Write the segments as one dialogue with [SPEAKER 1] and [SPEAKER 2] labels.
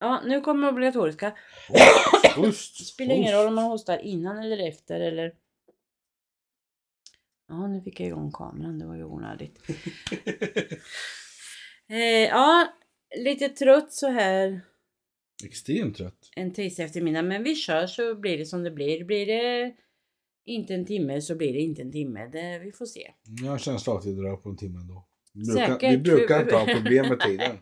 [SPEAKER 1] Ja, nu kommer obligatoriska.
[SPEAKER 2] Hust,
[SPEAKER 1] Spelar ingen roll om man
[SPEAKER 2] hust.
[SPEAKER 1] hostar innan eller efter eller... Ja, nu fick jag igång kameran. Det var ju onödigt. Eh, ja, lite trött så här
[SPEAKER 2] Extremt trött.
[SPEAKER 1] en tisdag eftermiddag. Men vi kör så blir det som det blir. Blir det inte en timme så blir det inte en timme. Det, vi får se.
[SPEAKER 2] Jag har en känsla av att vi drar på en timme ändå. Vi brukar, vi
[SPEAKER 1] Säkert.
[SPEAKER 2] brukar inte ha problem med tiden.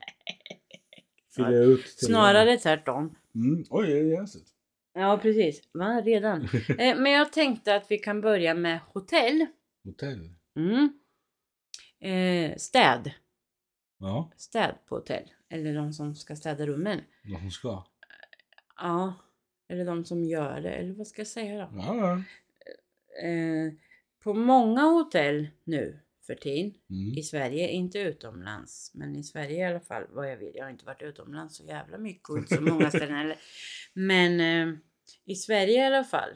[SPEAKER 2] Fylla ut tiden.
[SPEAKER 1] Snarare tvärtom.
[SPEAKER 2] Mm. Oj, det är jäsigt.
[SPEAKER 1] Ja, precis. Va? Redan? Eh, men jag tänkte att vi kan börja med hotell.
[SPEAKER 2] Hotell.
[SPEAKER 1] Mm. Eh, städ.
[SPEAKER 2] Ja,
[SPEAKER 1] Städ på hotell. Eller de som ska städa rummen.
[SPEAKER 2] vad hon ska.
[SPEAKER 1] Ja. Eller de som gör det. Eller vad ska jag säga då?
[SPEAKER 2] Ja, ja.
[SPEAKER 1] Eh, på många hotell nu för tiden
[SPEAKER 2] Mm.
[SPEAKER 1] i Sverige, inte utomlands, men i Sverige i alla fall vad jag vet. Jag har inte varit utomlands så jävla mycket och inte så många ställen heller. Men eh, i Sverige i alla fall.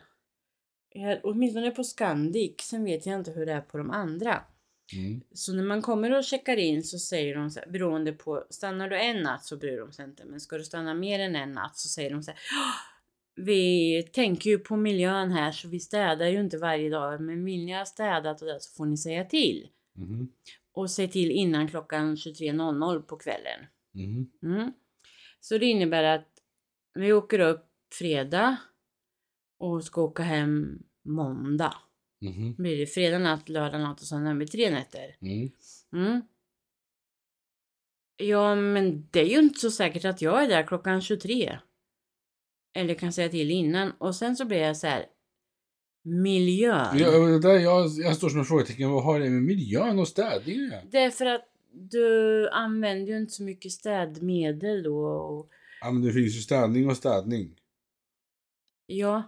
[SPEAKER 1] Här, åtminstone på Scandic, sen vet jag inte hur det är på de andra.
[SPEAKER 2] Mm.
[SPEAKER 1] Så när man kommer och checkar in så säger de så här, beroende på, stannar du en natt så bryr de sig inte, men ska du stanna mer än en natt så säger de så här, "Åh, vi tänker ju på miljön här så vi städar ju inte varje dag, men vill ni ha städat och det så får ni säga till.
[SPEAKER 2] Mhm.
[SPEAKER 1] Och säg till innan klockan 23.00 på kvällen.
[SPEAKER 2] Mhm.
[SPEAKER 1] Mm. Så det innebär att vi åker upp fredag och ska åka hem måndag.
[SPEAKER 2] Mhm.
[SPEAKER 1] Då blir det fredag natt, lördag natt och söndag med tre nätter.
[SPEAKER 2] Mm.
[SPEAKER 1] Mm. Ja, men det är ju inte så säkert att jag är där klockan 23. Eller kan säga till innan. Och sen så blir jag så här. Miljön.
[SPEAKER 2] Ja, det där, jag, jag står som ett frågetecken. Vad har det med miljön och städningen att göra?
[SPEAKER 1] Det är för att du använder ju inte så mycket städmedel då. Och,
[SPEAKER 2] Ja, men det finns ju städning och städning.
[SPEAKER 1] ja.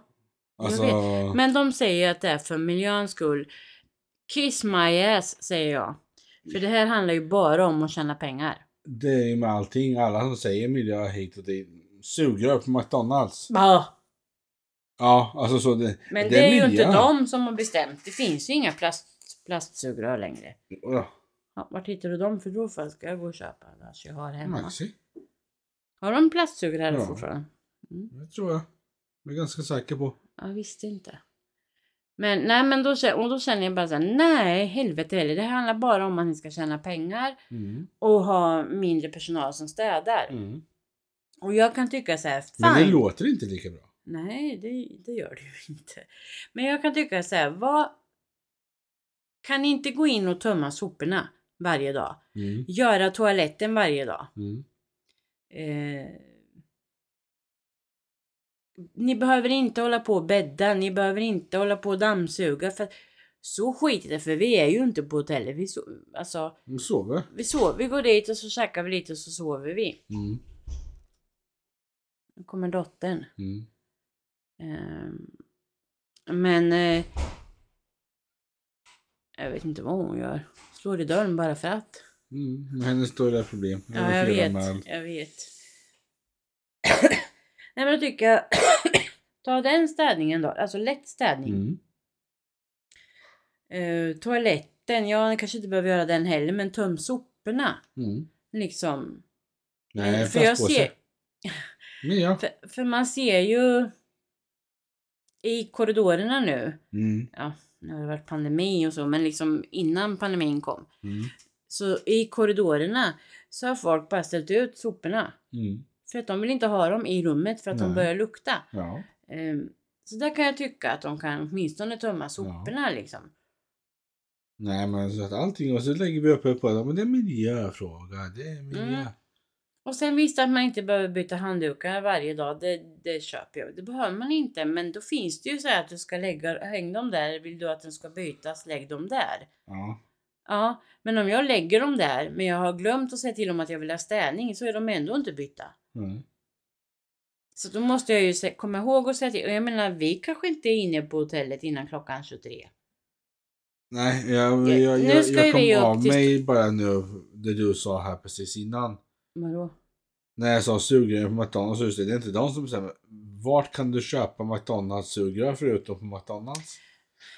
[SPEAKER 1] Jag
[SPEAKER 2] Alltså,
[SPEAKER 1] Men de säger att det är för miljöns skull. Kiss my ass säger jag. För det här handlar ju bara om att tjäna pengar.
[SPEAKER 2] det är ju med allting. Alla som säger miljö hit och dit. Sugrör på McDonalds. Ja, alltså så det,
[SPEAKER 1] Men det,
[SPEAKER 2] det
[SPEAKER 1] är ju
[SPEAKER 2] miljön.
[SPEAKER 1] inte de som har bestämt. Det finns ju inga plast, plastsugrör längre.
[SPEAKER 2] Ja,
[SPEAKER 1] Ja, vart hittar du dem? För då får jag- ska jag gå och köpa. Alltså jag har hemma.
[SPEAKER 2] Maxi.
[SPEAKER 1] Har de plastsugrör
[SPEAKER 2] Ja.
[SPEAKER 1] fortfarande?
[SPEAKER 2] Det tror jag. Jag är ganska säker på.
[SPEAKER 1] Jag visste inte. Men nej, men då, kä- och då känner jag bara så här, nej helvete heller. Det här handlar bara om att ni ska tjäna pengar
[SPEAKER 2] Mm.
[SPEAKER 1] och ha mindre personal som städar.
[SPEAKER 2] Mm.
[SPEAKER 1] Och jag kan tycka så här,
[SPEAKER 2] Men det
[SPEAKER 1] fine.
[SPEAKER 2] låter inte lika bra.
[SPEAKER 1] Nej, det, det gör det ju inte. Men jag kan tycka så här, vad... Kan ni inte gå in och tömma soporna varje dag?
[SPEAKER 2] Mm.
[SPEAKER 1] Göra toaletten varje dag?
[SPEAKER 2] Mm.
[SPEAKER 1] Eh, ni behöver inte hålla på och bädda, ni behöver inte hålla på och dammsuga. För att, så skit i det, för vi är ju inte på hotellet. Vi, so- alltså,
[SPEAKER 2] De sover.
[SPEAKER 1] vi, sover, vi går dit och så käkar vi lite och så sover vi.
[SPEAKER 2] Mm.
[SPEAKER 1] Nu kommer dottern.
[SPEAKER 2] Mm.
[SPEAKER 1] Ehm, Men... Eh, jag vet inte vad hon gör. Slår i dörren bara för att.
[SPEAKER 2] Mm. Men Hennes stora problem.
[SPEAKER 1] Ja, jag
[SPEAKER 2] Fyra
[SPEAKER 1] vet.
[SPEAKER 2] med-
[SPEAKER 1] Jag vet. Nej, men då tycker jag... Ta den städningen då. Alltså lätt städning.
[SPEAKER 2] Mm.
[SPEAKER 1] Eh, toaletten, ja, ni kanske inte behöver göra den heller, men töm soporna.
[SPEAKER 2] Mm.
[SPEAKER 1] Liksom.
[SPEAKER 2] Nej,
[SPEAKER 1] för jag
[SPEAKER 2] plastpåse.
[SPEAKER 1] ser...
[SPEAKER 2] Men ja.
[SPEAKER 1] För, för man ser ju... I korridorerna nu.
[SPEAKER 2] Mm.
[SPEAKER 1] Ja, nu har det varit pandemi och så, men liksom innan pandemin kom.
[SPEAKER 2] Mm.
[SPEAKER 1] Så i korridorerna så har folk bara ställt ut soporna.
[SPEAKER 2] Mm.
[SPEAKER 1] För att de vill inte ha dem i rummet för att de
[SPEAKER 2] Nej.
[SPEAKER 1] börjar lukta.
[SPEAKER 2] Ja.
[SPEAKER 1] Ehm, så där kan jag tycka att de kan åtminstone tömma soporna liksom.
[SPEAKER 2] Nej men så att allting och så lägger vi upp på det. Men det är miljöfråga. Det är miljö.
[SPEAKER 1] Mm. Och sen visst att man inte behöver byta handdukar varje dag, det, det köper jag. Det behöver man inte, men då finns det ju så här att du ska lägga, häng dem där. Vill du att den ska bytas, lägg dem där.
[SPEAKER 2] Ja.
[SPEAKER 1] Ja, men om jag lägger dem där, men jag har glömt att säga till dem att jag vill ha städning, så är de ändå inte bytta.
[SPEAKER 2] Mm.
[SPEAKER 1] Så då måste jag ju se, komma ihåg att säga till. Och jag menar, vi kanske inte är inne på hotellet innan klockan 23.
[SPEAKER 2] Nej, jag,
[SPEAKER 1] Ja,
[SPEAKER 2] jag, jag,
[SPEAKER 1] nu
[SPEAKER 2] jag,
[SPEAKER 1] ska ju vi upp
[SPEAKER 2] kom av
[SPEAKER 1] till-
[SPEAKER 2] mig bara nu. Det du sa här precis innan.
[SPEAKER 1] Vadå?
[SPEAKER 2] När jag sa sugrör på McDonalds så just det, det är inte de som bestämmer. Vart kan du köpa McDonalds sugrör förutom på McDonalds?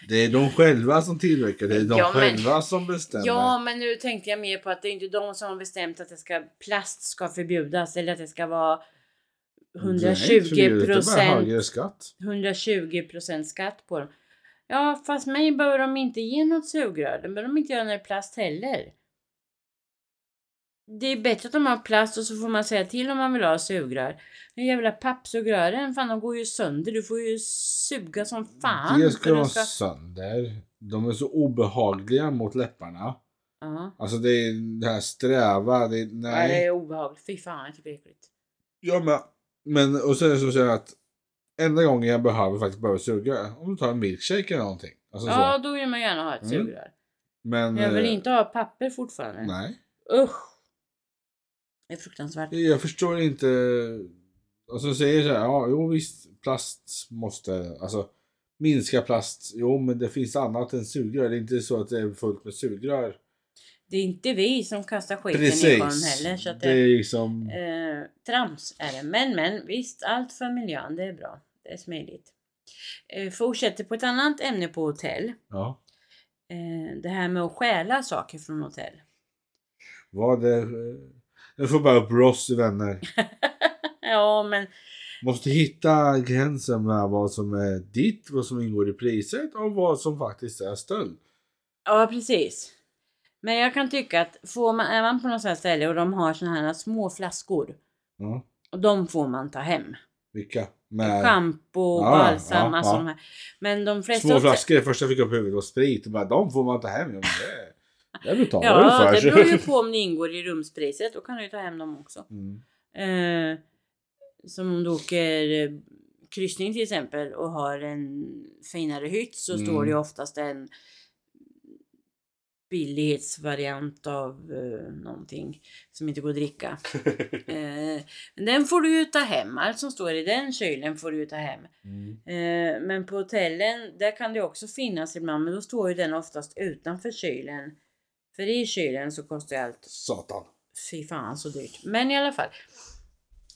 [SPEAKER 2] Det är de själva som tillverkar, det är de
[SPEAKER 1] Ja, men-
[SPEAKER 2] själva som bestämmer.
[SPEAKER 1] Ja, men nu tänkte jag mer på att det är inte de som har bestämt att det ska, plast ska förbjudas eller att det ska vara
[SPEAKER 2] Nej, för det är ju
[SPEAKER 1] 120
[SPEAKER 2] lite bara
[SPEAKER 1] procent
[SPEAKER 2] högre skatt.
[SPEAKER 1] 120 procent skatt på dem. Ja, fast mig behöver de inte ge något sugrör. Det behöver de inte göra när det är plast heller. Det är bättre att de har plast och så får man säga till om man vill ha sugrör. De jävla pappsugrören, fan de går ju sönder. Du får ju suga som fan.
[SPEAKER 2] det
[SPEAKER 1] för
[SPEAKER 2] ska
[SPEAKER 1] de
[SPEAKER 2] vara sönder. De är så obehagliga mot läpparna.
[SPEAKER 1] Ja.
[SPEAKER 2] Alltså det är det här sträva. Det är,
[SPEAKER 1] Nej. Det
[SPEAKER 2] nej.
[SPEAKER 1] är obehagligt. Fy fan, jag tycker det är äckligt.
[SPEAKER 2] Ja, men, men och sen så säger jag att enda gången jag behöver faktiskt behöver suga. Om du tar en milkshake eller någonting. Alltså
[SPEAKER 1] Ja,
[SPEAKER 2] så.
[SPEAKER 1] då vill man gärna ha ett
[SPEAKER 2] Mm.
[SPEAKER 1] sugrör.
[SPEAKER 2] Men,
[SPEAKER 1] Men jag vill
[SPEAKER 2] eh,
[SPEAKER 1] inte ha papper fortfarande.
[SPEAKER 2] Nej.
[SPEAKER 1] Usch! Det är fruktansvärt.
[SPEAKER 2] Jag förstår inte. Alltså säger så här, ja jo visst plast måste, alltså minska plast. Jo men det finns annat än sugrör. Det är inte så att det är fullt med sugrör.
[SPEAKER 1] Det är inte vi som kastar skiten i sjön
[SPEAKER 2] Precis.
[SPEAKER 1] heller. Så att
[SPEAKER 2] det
[SPEAKER 1] det,
[SPEAKER 2] är liksom.
[SPEAKER 1] eh, trams är det. Men men visst, allt för miljön. Det är bra. Det är smidigt. Eh, fortsätter på ett annat ämne på hotell.
[SPEAKER 2] Ja.
[SPEAKER 1] Eh, det här med att stjäla saker från hotell.
[SPEAKER 2] Vad det... Jag får bara upp Ross vänner.
[SPEAKER 1] ja men
[SPEAKER 2] Måste hitta gränsen med vad som är ditt, vad som ingår i priset och vad som faktiskt är stöld.
[SPEAKER 1] Ja, precis. Men jag kan tycka att får man, är man på något sånt här ställe och de har såna här små flaskor.
[SPEAKER 2] Ja.
[SPEAKER 1] Och de får man ta hem.
[SPEAKER 2] Vilka? Med
[SPEAKER 1] Shampoo,
[SPEAKER 2] Ja,
[SPEAKER 1] balsam,
[SPEAKER 2] ja,
[SPEAKER 1] alltså
[SPEAKER 2] ja.
[SPEAKER 1] de här. Men de flesta...
[SPEAKER 2] små
[SPEAKER 1] hotell-
[SPEAKER 2] flaskor. Det första jag fick upp i huvudet var sprit. Och bara, de får man ta hem. Ja, men det, det betalar
[SPEAKER 1] Ja,
[SPEAKER 2] du
[SPEAKER 1] det
[SPEAKER 2] för.
[SPEAKER 1] beror ju på om det ingår i rumspriset. Då kan du ju ta hem dem också.
[SPEAKER 2] Mm.
[SPEAKER 1] Eh, som om du åker eh, kryssning till exempel och har en finare hytt så
[SPEAKER 2] Mm.
[SPEAKER 1] står det ju oftast en billighetsvariant av eh, någonting som inte går att dricka. Eh, men den får du ju ta hem. Allt som står i den kylen får du ju ta hem.
[SPEAKER 2] Mm.
[SPEAKER 1] Eh, men på hotellen, där kan det också finnas ibland, men då står ju den oftast utanför kylen. För i kylen så kostar ju allt
[SPEAKER 2] Satan.
[SPEAKER 1] Fy fan så dyrt. Men i alla fall.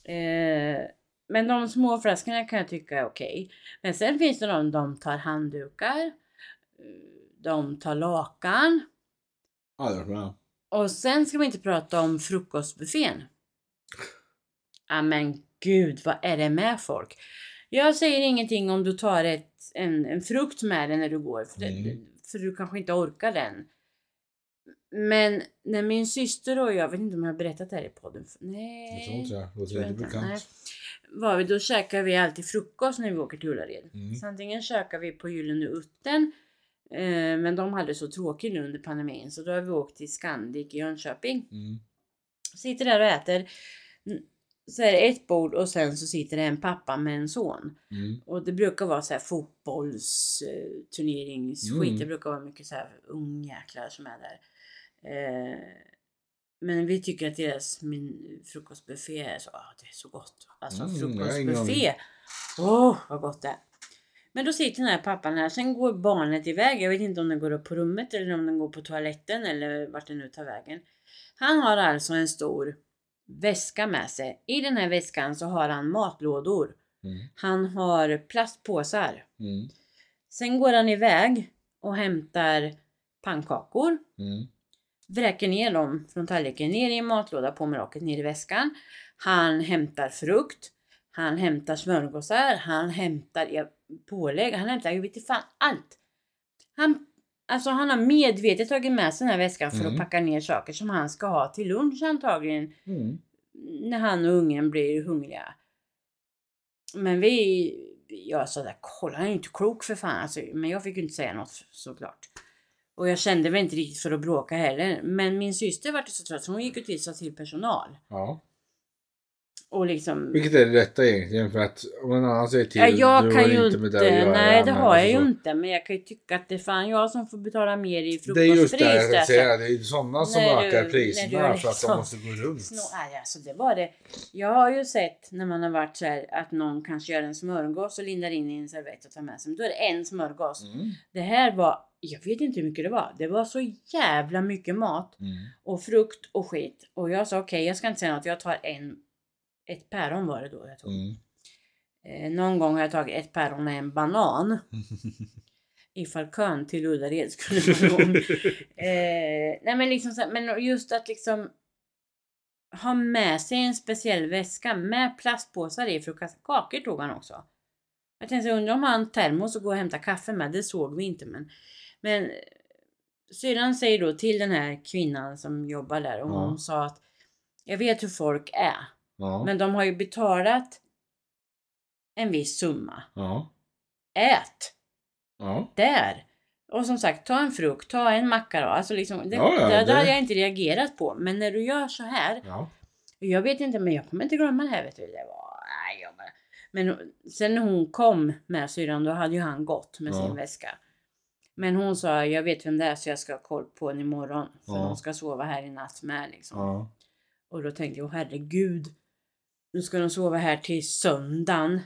[SPEAKER 1] Eh, men de små flaskorna kan jag tycka är okej. Men sen finns det de, de tar handdukar. eh, De tar lakan.
[SPEAKER 2] Ja, det var bra.
[SPEAKER 1] Och sen ska vi inte prata om frukostbuffén. Ja men gud, vad är det med folk? Jag säger ingenting om du tar ett, en, en frukt med dig när du går, för, det-
[SPEAKER 2] Mm.
[SPEAKER 1] för du kanske inte orkar den. Men när min syster och jag, jag vet inte om jag har berättat det här i podden? för- Nej.
[SPEAKER 2] Jag tror inte det.
[SPEAKER 1] tror
[SPEAKER 2] Låter
[SPEAKER 1] jag
[SPEAKER 2] inte
[SPEAKER 1] inte. Nej.
[SPEAKER 2] bekant.
[SPEAKER 1] Var vi, då käkar vi alltid frukost när vi åker till Ullared.
[SPEAKER 2] Mm.
[SPEAKER 1] Så antingen käkar vi på Gyllene Utten, eh, men de hade så tråkigt nu under pandemin så då har vi åkt till Scandic i Jönköping.
[SPEAKER 2] Mm.
[SPEAKER 1] Sitter där och äter. Mm, Så är det ett bord och sen så sitter det en pappa med en son.
[SPEAKER 2] Mm.
[SPEAKER 1] Och det brukar vara så här fotbollsturneringsskit.
[SPEAKER 2] Mm.
[SPEAKER 1] Det brukar vara mycket så här ungjäklar som är där. Eh, men vi tycker att deras min, frukostbuffé är så, ah, det är så gott. Alltså
[SPEAKER 2] Mm, jag har ingen
[SPEAKER 1] frukostbuffé. Åh, vad gott det är. Men då sitter den här pappan här. Sen går barnet iväg. Jag vet inte om den går upp på rummet eller om den går på toaletten eller vart den nu tar vägen. Han har alltså en stor väska med sig. I den här väskan så har han matlådor.
[SPEAKER 2] Mm.
[SPEAKER 1] Han har plastpåsar.
[SPEAKER 2] Mm.
[SPEAKER 1] Sen går han iväg och hämtar pannkakor,
[SPEAKER 2] Mm.
[SPEAKER 1] vräker ner dem från tallriken ner i en matlåda på med rocket ner i väskan. Han hämtar frukt, han hämtar smörgåsar, han hämtar ja, pålägg, han hämtar, jag vet inte fan, allt. Han, alltså han har medvetet tagit med sig den här väskan för
[SPEAKER 2] Mm.
[SPEAKER 1] att packa ner saker som han ska ha till lunch antagligen
[SPEAKER 2] Mm.
[SPEAKER 1] när han och ungen blir hungriga. Men vi, jag sa där, kolla han är ju inte klok för fan. Alltså, men jag fick ju inte säga något såklart. Och jag kände mig inte riktigt för att bråka heller. Men min syster vart ju så trött så hon gick ut och sa till personal.
[SPEAKER 2] Ja.
[SPEAKER 1] Och liksom,
[SPEAKER 2] Vilket är det rätta egentligen för att om en annan säger till.
[SPEAKER 1] ja, jag
[SPEAKER 2] du
[SPEAKER 1] kan
[SPEAKER 2] har
[SPEAKER 1] ju
[SPEAKER 2] inte
[SPEAKER 1] inte,
[SPEAKER 2] med det att göra,
[SPEAKER 1] nej det
[SPEAKER 2] men
[SPEAKER 1] har jag
[SPEAKER 2] alltså
[SPEAKER 1] ju
[SPEAKER 2] så.
[SPEAKER 1] inte. Men jag kan ju tycka att det är fan jag som får betala mer i
[SPEAKER 2] Det är
[SPEAKER 1] frukostpris.
[SPEAKER 2] just det jag
[SPEAKER 1] där,
[SPEAKER 2] tänkte
[SPEAKER 1] så-
[SPEAKER 2] säga. Det är ju sådana som
[SPEAKER 1] När du-
[SPEAKER 2] ökar
[SPEAKER 1] när du
[SPEAKER 2] priserna
[SPEAKER 1] har
[SPEAKER 2] för att
[SPEAKER 1] liksom
[SPEAKER 2] de måste gå runt.
[SPEAKER 1] Snor, nej, alltså det var det. Jag har ju sett när man har varit så här att någon kanske gör en smörgås och lindar in i en servett och tar med sig. Men då är det en smörgås.
[SPEAKER 2] Mm.
[SPEAKER 1] Det här var, jag vet inte hur mycket det var. Det var så jävla mycket mat
[SPEAKER 2] Mm.
[SPEAKER 1] och frukt och skit. Och jag sa okej, jag ska inte säga något. Jag tar en, ett päron var det då jag tog.
[SPEAKER 2] Mm.
[SPEAKER 1] Eh, någon gång har jag tagit ett päron och en banan. Ifall kön till Ullared skulle
[SPEAKER 2] Mm.
[SPEAKER 1] vara lång. Eh, nej men liksom så här, men just att liksom ha med sig en speciell väska med plastpåsar i för att kasta kakor tog han också. Jag tänkte undrar om han termos och gå och hämta kaffe med. Det såg vi inte men. Men syrran säger då till den här kvinnan som jobbar där och
[SPEAKER 2] Ja.
[SPEAKER 1] hon sa att jag vet hur folk är.
[SPEAKER 2] Ja.
[SPEAKER 1] Men de har ju betalat en viss summa.
[SPEAKER 2] Ja.
[SPEAKER 1] Ät!
[SPEAKER 2] Ja.
[SPEAKER 1] där. Och som sagt, ta en frukt, ta en macka då. Alltså liksom, det,
[SPEAKER 2] Ja, ja,
[SPEAKER 1] det, det
[SPEAKER 2] det-
[SPEAKER 1] hade jag inte reagerat på. Men när du gör så här.
[SPEAKER 2] Ja.
[SPEAKER 1] Jag vet inte, men jag kommer inte glömma det här vet du. Det var, nej, jag bara. Men sen när hon kom med syrran, då hade ju han gått med
[SPEAKER 2] Ja.
[SPEAKER 1] sin väska. Men hon sa, jag vet vem det är så jag ska ha koll på henne imorgon. För
[SPEAKER 2] Ja.
[SPEAKER 1] hon ska sova här i natt med liksom.
[SPEAKER 2] Ja.
[SPEAKER 1] Och då tänkte jag, "Åh, herregud. Nu ska de sova här till söndagen.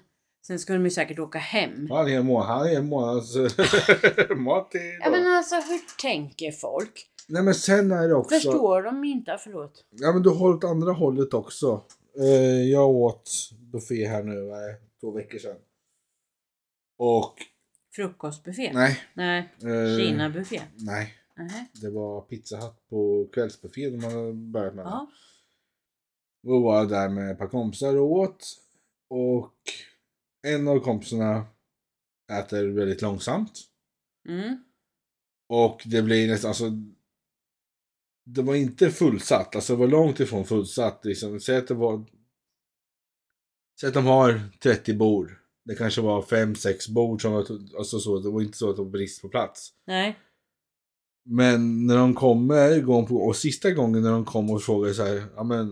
[SPEAKER 1] Sen ska de ju säkert åka hem.
[SPEAKER 2] Han är en månad, han är en månads mat i
[SPEAKER 1] Ja
[SPEAKER 2] dag.
[SPEAKER 1] men alltså hur tänker folk?
[SPEAKER 2] Nej men sen är det också.
[SPEAKER 1] Förstår de inte? ah, Förlåt.
[SPEAKER 2] Ja men du har åt andra hållet också. Eh, jag åt buffé här nu, eh, två veckor sedan. Och
[SPEAKER 1] Frukostbuffé?
[SPEAKER 2] nej.
[SPEAKER 1] Nej.
[SPEAKER 2] eh,
[SPEAKER 1] Kinabuffé?
[SPEAKER 2] Nej.
[SPEAKER 1] Nej.
[SPEAKER 2] Det var Pizza Hut på kvällsbuffén de hade börjat med.
[SPEAKER 1] Ja.
[SPEAKER 2] Då var jag där med ett par kompisar och åt. Och en av kompisarna äter väldigt långsamt.
[SPEAKER 1] Mm.
[SPEAKER 2] Och det blir nästan, alltså. Det var inte fullsatt, alltså det var långt ifrån fullsatt. Liksom. Säg att det var. Säg att de har 30 bord. Det kanske var 5-6 bord som var, alltså så, det var inte så att det var brist på plats.
[SPEAKER 1] Nej.
[SPEAKER 2] Men när de kommer gång på och sista gången när de kom och frågade så här, ja men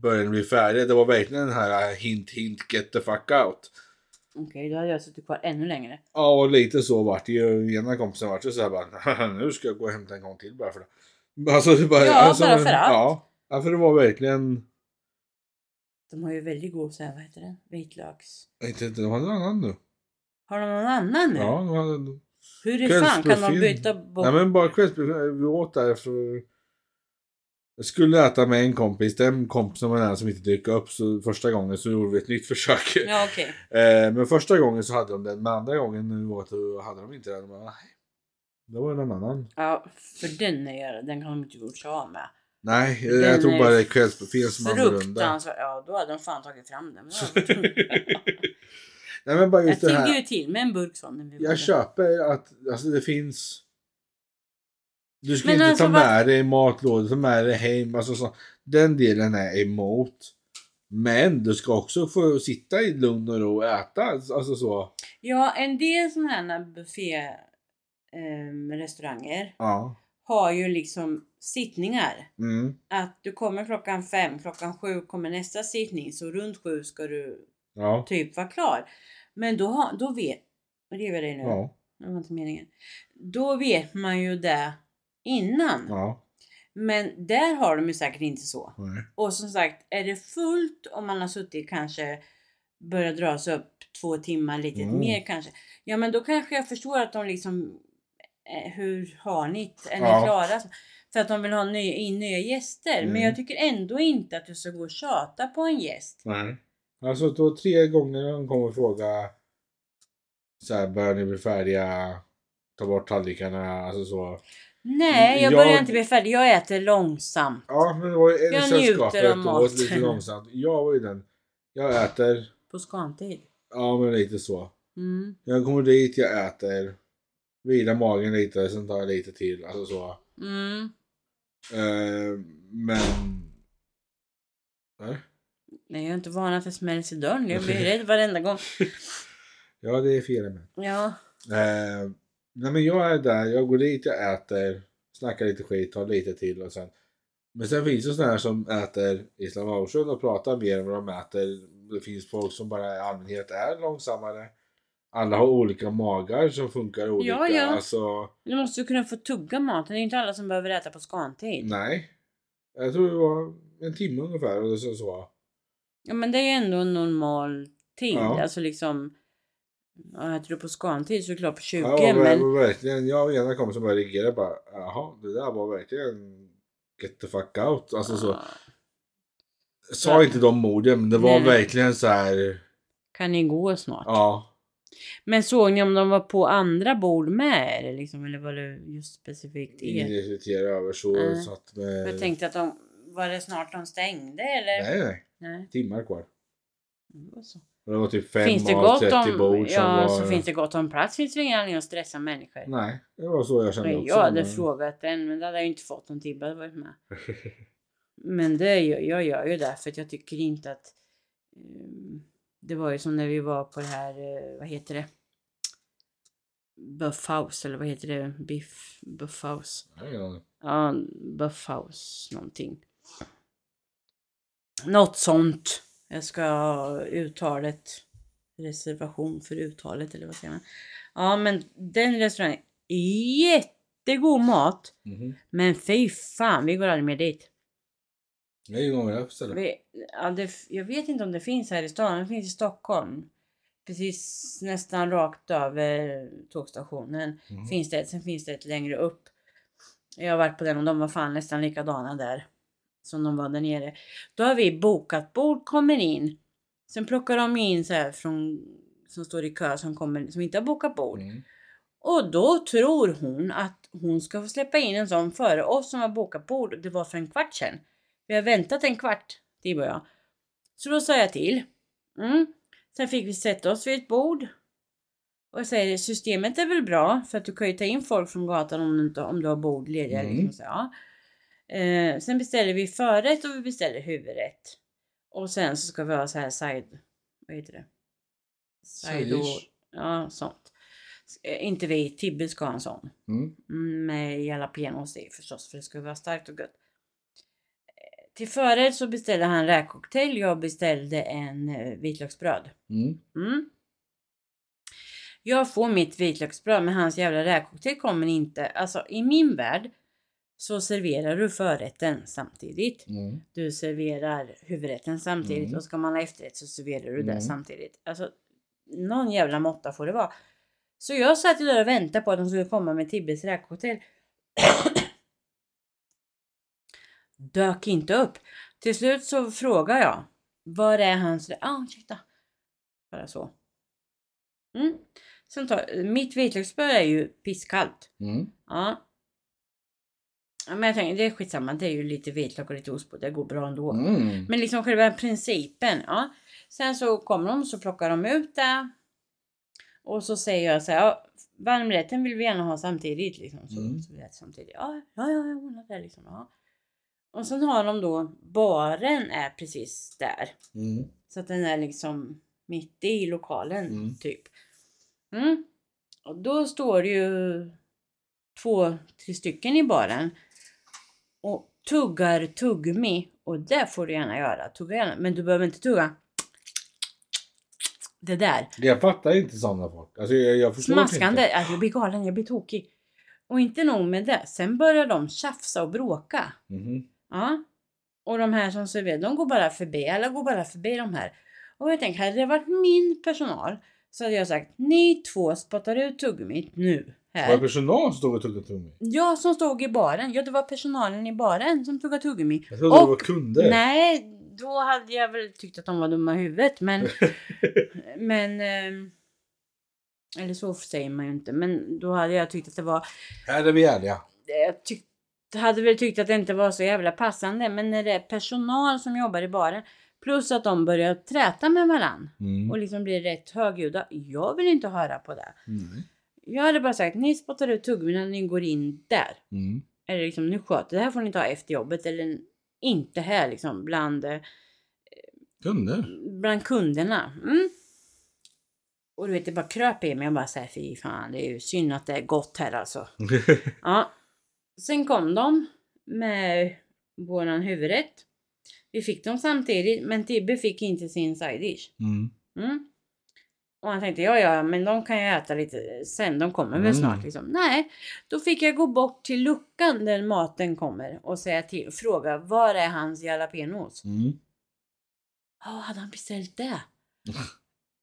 [SPEAKER 2] börjar ni bli färdiga? Det var verkligen den här äh, hint hint get the fuck out.
[SPEAKER 1] Okej, då hade jag suttit kvar ännu längre.
[SPEAKER 2] Ja och lite så vart det ju. Ena kompisen vart ju så här bara, nu ska jag gå och hämta en gång till bara för det. Alltså, det bara,
[SPEAKER 1] Ja,
[SPEAKER 2] alltså,
[SPEAKER 1] bara för att.
[SPEAKER 2] Ja, ja, för det var verkligen,
[SPEAKER 1] De har ju väldigt god så här, vad heter den? Vitlöks...
[SPEAKER 2] inte, de hade en annan nu.
[SPEAKER 1] Har de någon annan nu?
[SPEAKER 2] Ja, de hade,
[SPEAKER 1] Hur i fan kan de
[SPEAKER 2] Kvällsbuffén.
[SPEAKER 1] byta bort?
[SPEAKER 2] nej men bara kvällsbuffé, vi åt där för jag skulle äta med en kompis, den kompisen var den som inte dök upp så första gången så gjorde vi ett nytt försök.
[SPEAKER 1] Ja okej.
[SPEAKER 2] Eh, men första gången så hade de den, men andra gången nu åt då hade de inte den. De bara, nej. Då var det någon annan.
[SPEAKER 1] Ja, för den är jag, den kan de inte gjort sig av med.
[SPEAKER 2] Nej, Eh, jag,
[SPEAKER 1] Den
[SPEAKER 2] jag tror
[SPEAKER 1] är
[SPEAKER 2] bara det är kvällsbuffén som är annorlunda.
[SPEAKER 1] Fruktansvärt. Ja, då hade de fan tagit fram den.
[SPEAKER 2] nej men bara
[SPEAKER 1] jag
[SPEAKER 2] just det
[SPEAKER 1] tycker
[SPEAKER 2] här.
[SPEAKER 1] ju till med en burk sån. när vi var
[SPEAKER 2] Jag köper att alltså, det finns. Du ska
[SPEAKER 1] Men
[SPEAKER 2] inte
[SPEAKER 1] alltså,
[SPEAKER 2] ta
[SPEAKER 1] vad-
[SPEAKER 2] med dig matlådor, ta med dig hem. Alltså, så, den delen är emot. Men du ska också få sitta i lugn och ro och äta. Alltså så.
[SPEAKER 1] Ja, en del sådana här ehm, buffé-restauranger
[SPEAKER 2] Ja.
[SPEAKER 1] har ju liksom sittningar.
[SPEAKER 2] Mm.
[SPEAKER 1] Att du kommer klockan fem, klockan sju kommer nästa sittning så runt sju ska du
[SPEAKER 2] Ja.
[SPEAKER 1] typ vara klar. Men då, har- då vet... Och det är väl det nu?
[SPEAKER 2] Ja.
[SPEAKER 1] Det var inte meningen. Då vet man ju det innan.
[SPEAKER 2] Ja.
[SPEAKER 1] Men där har de ju säkert inte så.
[SPEAKER 2] Nej.
[SPEAKER 1] Och som sagt, är det fullt och man har suttit kanske börjar dra sig upp två timmar lite
[SPEAKER 2] Mm.
[SPEAKER 1] mer kanske. Ja men då kanske jag förstår att de liksom eh, hur har ni det? Är ni
[SPEAKER 2] Ja.
[SPEAKER 1] klara? För att de vill ha nya, in nya gäster. Men
[SPEAKER 2] Mm.
[SPEAKER 1] jag tycker ändå inte att du ska gå och tjata på en gäst.
[SPEAKER 2] Nej. Alltså då tre gånger de kommer och fråga så här, börjar ni bli färdiga? Ta bort tallrikarna, alltså så.
[SPEAKER 1] Nej, jag,
[SPEAKER 2] Mm, Jag-
[SPEAKER 1] börjar inte bli färdig. Jag äter långsamt.
[SPEAKER 2] Ja, men det var ju en i
[SPEAKER 1] Jag njuter av
[SPEAKER 2] sällskapet och åt lite
[SPEAKER 1] maten.
[SPEAKER 2] långsamt. Jag var ju den. Jag äter,
[SPEAKER 1] På skantid.
[SPEAKER 2] ja men lite så.
[SPEAKER 1] Mm.
[SPEAKER 2] Jag kommer dit, jag äter, vilar magen lite, sen tar jag lite till, alltså så.
[SPEAKER 1] Mm.
[SPEAKER 2] Eh, men... Nej.
[SPEAKER 1] Nej, jag är inte van att det smälls i dörren. Jag blir rädd varenda gång.
[SPEAKER 2] Ja, det är fel med.
[SPEAKER 1] Ja.
[SPEAKER 2] Eh, nej men jag är där, jag går dit, jag äter, snackar lite skit, tar lite till och sen. Men sen finns det sådana här som äter Islam Ocean och pratar mer än vad de äter. Det finns folk som bara i allmänhet är långsammare. Alla har olika magar som funkar olika.
[SPEAKER 1] Ja, ja.
[SPEAKER 2] Alltså,
[SPEAKER 1] Du måste ju kunna få tugga maten. Det är inte alla som behöver äta på skantid.
[SPEAKER 2] nej. Jag tror det var en timme ungefär och så. så.
[SPEAKER 1] Ja men det är ju ändå en normal tid.
[SPEAKER 2] Ja.
[SPEAKER 1] Alltså liksom. ja, Äter du på skantid så är det klart på 20
[SPEAKER 2] Ja, jag,
[SPEAKER 1] men.
[SPEAKER 2] var verkligen, jag och ena kompisen började reagera bara, jaha, det där var verkligen get the fuck out. Alltså så.
[SPEAKER 1] Ja.
[SPEAKER 2] sa inte de orden, men det var
[SPEAKER 1] Nej.
[SPEAKER 2] verkligen så här.
[SPEAKER 1] Kan ni gå snart?
[SPEAKER 2] Ja.
[SPEAKER 1] Men såg ni om de var på andra bord med eller liksom? Eller var det just specifikt er?
[SPEAKER 2] Ingen reflekterar över så.
[SPEAKER 1] Nej.
[SPEAKER 2] så att, eh, men,
[SPEAKER 1] Jag tänkte att de var det snart de stängde eller?
[SPEAKER 2] Nej, nej.
[SPEAKER 1] Nej.
[SPEAKER 2] Timmar kvar.
[SPEAKER 1] Mm, det var så.
[SPEAKER 2] Och det var typ fem
[SPEAKER 1] Finns det
[SPEAKER 2] av
[SPEAKER 1] gott
[SPEAKER 2] 30
[SPEAKER 1] om,
[SPEAKER 2] bord som
[SPEAKER 1] ja,
[SPEAKER 2] var...
[SPEAKER 1] så finns det gott om plats finns det ingen anledning att stressa människor.
[SPEAKER 2] Nej, det var så jag kände
[SPEAKER 1] Men
[SPEAKER 2] också.
[SPEAKER 1] jag hade
[SPEAKER 2] men-
[SPEAKER 1] frågat den men då hade jag ju inte fått om Tibbe hade varit med. Men det gör, jag gör ju det för att jag tycker inte att mm, Det var ju som när vi var på det här, eh, vad heter det? Buffhouse eller vad heter det? Biff, Buffhouse.
[SPEAKER 2] Jag har ingen aning.
[SPEAKER 1] Ja, Buffhouse någonting. Något sånt. Jag ska ha uttalet. Reservation för uttalet eller vad säger man? Ja men den restaurangen. Jättegod mat.
[SPEAKER 2] Mhm.
[SPEAKER 1] Men fy fan vi går aldrig mer dit.
[SPEAKER 2] Det är ju några jag beställer.
[SPEAKER 1] Vi, ja, det, jag vet inte om det finns här i stan. Det finns i Stockholm. Precis nästan rakt över tågstationen.
[SPEAKER 2] Mhm.
[SPEAKER 1] Finns det ett, sen finns det ett längre upp. Jag har varit på den och de var fan nästan likadana där. Som de var där nere. Då har vi bokat bord, kommer in. Sen plockar de in så här från som står i kö som, kommer, som inte har bokat bord.
[SPEAKER 2] Mm.
[SPEAKER 1] Och då tror hon att hon ska få släppa in en sån före oss som har bokat bord. Det var för en kvart sedan. Vi har väntat en kvart, Tibbe och jag. Så då sa jag till. Mm. Sen fick vi sätta oss vid ett bord. Och jag säger systemet är väl bra för att du kan ju ta in folk från gatan om du, inte, om du har bord lediga.
[SPEAKER 2] Mm.
[SPEAKER 1] Liksom, så, ja. eh, sen beställer vi förrätt och vi beställer huvudrätt. Och sen så ska vi ha så här side... Vad heter det? Side och,
[SPEAKER 2] Saish.
[SPEAKER 1] Ja, sånt. Eh, inte vi, Tibbe ska ha en sån.
[SPEAKER 2] Mm.
[SPEAKER 1] Mm, med jalapenos i förstås för det ska vara starkt och gött. Eh, Till förrätt så beställde han räkcocktail. Jag beställde en eh, vitlöksbröd.
[SPEAKER 2] Mm.
[SPEAKER 1] Mm. Jag får mitt vitlöksbröd men hans jävla räkcocktail kommer inte. Alltså i min värld så serverar du förrätten samtidigt.
[SPEAKER 2] Mm.
[SPEAKER 1] Du serverar huvudrätten samtidigt
[SPEAKER 2] Mm.
[SPEAKER 1] och ska man ha efterrätt så serverar du det
[SPEAKER 2] Mm.
[SPEAKER 1] samtidigt. Alltså någon jävla måtta får det vara. Så jag satt ju där och väntade på att de skulle komma med Tibbes räkhotell. Dök inte upp. Till slut så frågar jag. Var är hans... rä- Ah, ursäkta. Bara så. Mm. Sen tar, mitt vitlöksbröd är ju pisskallt.
[SPEAKER 2] Mm.
[SPEAKER 1] Ja. Ja, Men jag tänker, det är skitsamma. Det är ju lite vitlök och lite ost på. Det går bra ändå.
[SPEAKER 2] Mm.
[SPEAKER 1] Men liksom själva principen. Ja. Sen så kommer de så plockar de ut det. Och så säger jag så här. Ja, varmrätten vill vi gärna ha samtidigt. Liksom. Så,
[SPEAKER 2] Mm.
[SPEAKER 1] så vi äter samtidigt. Ja, ja, ja, jag ordnar det liksom. Ja. Och sen har de då baren är precis där.
[SPEAKER 2] Mm.
[SPEAKER 1] Så att den är liksom mitt i lokalen
[SPEAKER 2] Mm.
[SPEAKER 1] typ. Mm. Och då står det ju två, tre stycken i baren och tuggar tuggummi. Och det får du gärna göra. Tugga gärna. Men du behöver inte tugga. Det där.
[SPEAKER 2] Jag fattar inte sådana folk. Alltså jag, jag förstår inte.
[SPEAKER 1] Smaskande. Alltså, jag blir galen, jag blir tokig. Och inte nog med det. Sen börjar de tjafsa och bråka.
[SPEAKER 2] Mhm.
[SPEAKER 1] Ja. Och de här som serverar, de går bara förbi. Alla går bara förbi de här. Och jag tänker, hade det varit min personal så hade jag sagt, ni två spottar ut tuggummit nu.
[SPEAKER 2] Var det
[SPEAKER 1] Här.
[SPEAKER 2] personal som stod och tuggade tuggummi?
[SPEAKER 1] Jag som stod i baren, ja det var personalen i baren som tuggade tuggummi.
[SPEAKER 2] Jag trodde det
[SPEAKER 1] Och-
[SPEAKER 2] var kunder.
[SPEAKER 1] Nej, då hade jag väl tyckt att de var dumma i huvudet men... men ehm, eller så säger man ju inte, men då hade jag tyckt att det var
[SPEAKER 2] Här är vi ärliga.
[SPEAKER 1] jag eh, tyck, hade väl tyckt att det inte var så jävla passande. Men när det är personal som jobbar i baren. Plus att de börjar träta med varann.
[SPEAKER 2] Mm.
[SPEAKER 1] Och liksom blir rätt högljudda. Jag vill inte höra på det.
[SPEAKER 2] Mm.
[SPEAKER 1] Jag hade bara sagt, ni spottar ut tuggummin när ni går in där.
[SPEAKER 2] Mm.
[SPEAKER 1] Eller liksom, nu sköter det här får ni ta efter jobbet. Eller inte här liksom, bland, eh,
[SPEAKER 2] Kunder?
[SPEAKER 1] bland kunderna. Mm. Och du vet, det bara kröp i mig. Jag bara såhär, fy fan, det är ju synd att det är gott här alltså. Ja. Sen kom de med våran huvudrätt. Vi fick dem samtidigt men Tibbe fick inte sin side dish.
[SPEAKER 2] mm.
[SPEAKER 1] Mm. Och han tänkte ja ja men de kan jag äta lite sen, de kommer väl
[SPEAKER 2] Mm.
[SPEAKER 1] snart liksom. Nej, då fick jag gå bort till luckan där maten kommer och säga till, fråga var är hans jalapenos?
[SPEAKER 2] Mm.
[SPEAKER 1] Ja, hade han beställt det?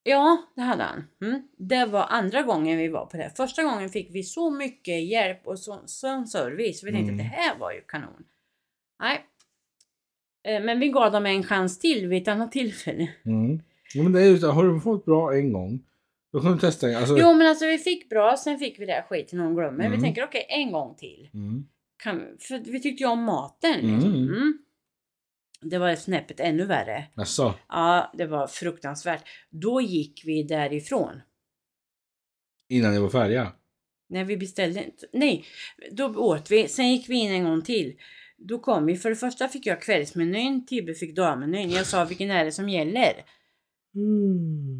[SPEAKER 1] Ja, det hade han. Mm. Det var andra gången vi var på det. Första gången fick vi så mycket hjälp och så, sån service. Vi tänkte
[SPEAKER 2] Mm.
[SPEAKER 1] att det här var ju kanon. Nej. Eh, Men vi gav dem en chans till vid ett annat tillfälle.
[SPEAKER 2] Mm. Ja, men det är ju så, har du fått bra en gång, då kan du testa en alltså,
[SPEAKER 1] Jo men alltså vi fick bra, sen fick vi det här skiten hon glömmer.
[SPEAKER 2] Mm.
[SPEAKER 1] Vi tänker okej, en gång till.
[SPEAKER 2] Mm.
[SPEAKER 1] Kan, för vi tyckte ju om maten.
[SPEAKER 2] Mm.
[SPEAKER 1] Liksom. Mm. Det var snäppet ännu värre.
[SPEAKER 2] Jaså?
[SPEAKER 1] Ja, det var fruktansvärt. Då gick vi därifrån.
[SPEAKER 2] Innan det var färja?
[SPEAKER 1] När vi beställde inte. Nej, då åt vi. Sen gick vi in en gång till. Då kom vi. För det första fick jag kvällsmenyn. Tibbe fick dagmenyn. Jag sa vilken är det som gäller?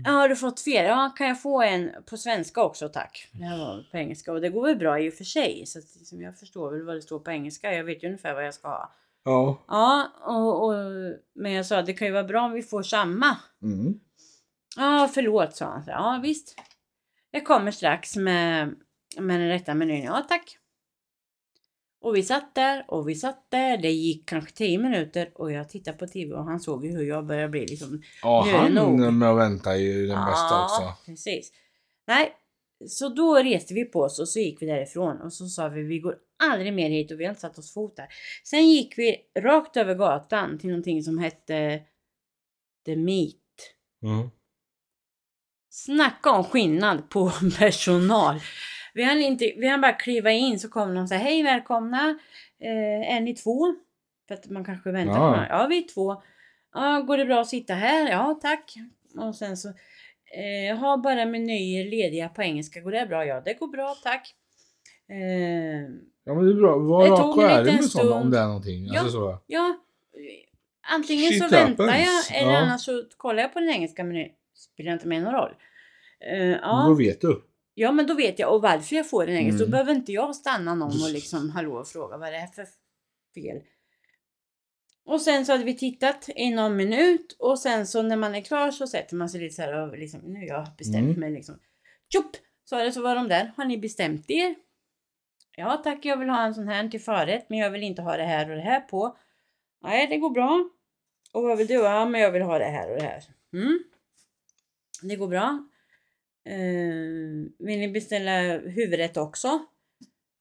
[SPEAKER 1] Ja, har du fått fel? Ja, kan jag få en på svenska också tack? Det här var på engelska och det går väl bra i och för sig. Så att, liksom, jag förstår väl vad det står på engelska. Jag vet ju ungefär vad jag ska ha.
[SPEAKER 2] Ja.
[SPEAKER 1] Ja, och, och, men jag sa det kan ju vara bra om vi får samma.
[SPEAKER 2] Mm.
[SPEAKER 1] Ja, förlåt sa han. Så, Ja, visst. Jag kommer strax med, med den rätta menyn. Ja, tack. Och vi satt där och vi satt där. Det gick kanske 10 minuter och jag tittade på TV och han såg ju hur jag började bli liksom.
[SPEAKER 2] Ja,
[SPEAKER 1] Nu är det nog.
[SPEAKER 2] han med att vänta är ju den bästa också.
[SPEAKER 1] precis. Nej, så då reste vi på oss och så gick vi därifrån och så sa vi vi går aldrig mer hit och vi har inte satt oss fot där. Sen gick vi rakt över gatan till någonting som hette The Meat.
[SPEAKER 2] Mm.
[SPEAKER 1] Snacka om skillnad på personal. Vi hann, inte, vi hann bara kliva in så kom de och sa hej välkomna. Eh, är ni två? För att man kanske väntar
[SPEAKER 2] Ja.
[SPEAKER 1] på några. Ja vi är två. Ja, går det bra att sitta här? Ja tack. Och sen så eh, ha bara menyer lediga på engelska. Går det bra? Ja det går bra tack. Eh,
[SPEAKER 2] Ja men det är bra. Var
[SPEAKER 1] Det tog
[SPEAKER 2] rak och
[SPEAKER 1] en
[SPEAKER 2] ärlig
[SPEAKER 1] liten
[SPEAKER 2] med sådana om
[SPEAKER 1] stund.
[SPEAKER 2] det är någonting.
[SPEAKER 1] Ja.
[SPEAKER 2] Alltså så.
[SPEAKER 1] ja, antingen
[SPEAKER 2] Shit
[SPEAKER 1] så väntar
[SPEAKER 2] happens.
[SPEAKER 1] jag eller
[SPEAKER 2] Ja.
[SPEAKER 1] annars så kollar jag på den engelska menyn. Spelar inte mig någon roll. Eh, ja.
[SPEAKER 2] Då vet du.
[SPEAKER 1] Ja men då vet jag och varför jag får den engelsk. Då
[SPEAKER 2] Mm.
[SPEAKER 1] behöver inte jag stanna någon och liksom hallå och fråga vad är det här för fel. Och sen så hade vi tittat i någon minut och sen så när man är klar så sätter man sig lite så här och liksom nu har jag bestämt
[SPEAKER 2] Mm.
[SPEAKER 1] mig liksom. Tjopp! Sa det så var de där. Har ni bestämt er? Ja tack jag vill ha en sån här till förrätt men jag vill inte ha det här och det här på. Nej det går bra. Och vad vill du? Ja men jag vill ha det här och det här. Mm. Det går bra. Eh, vill ni beställa huvudrätt också?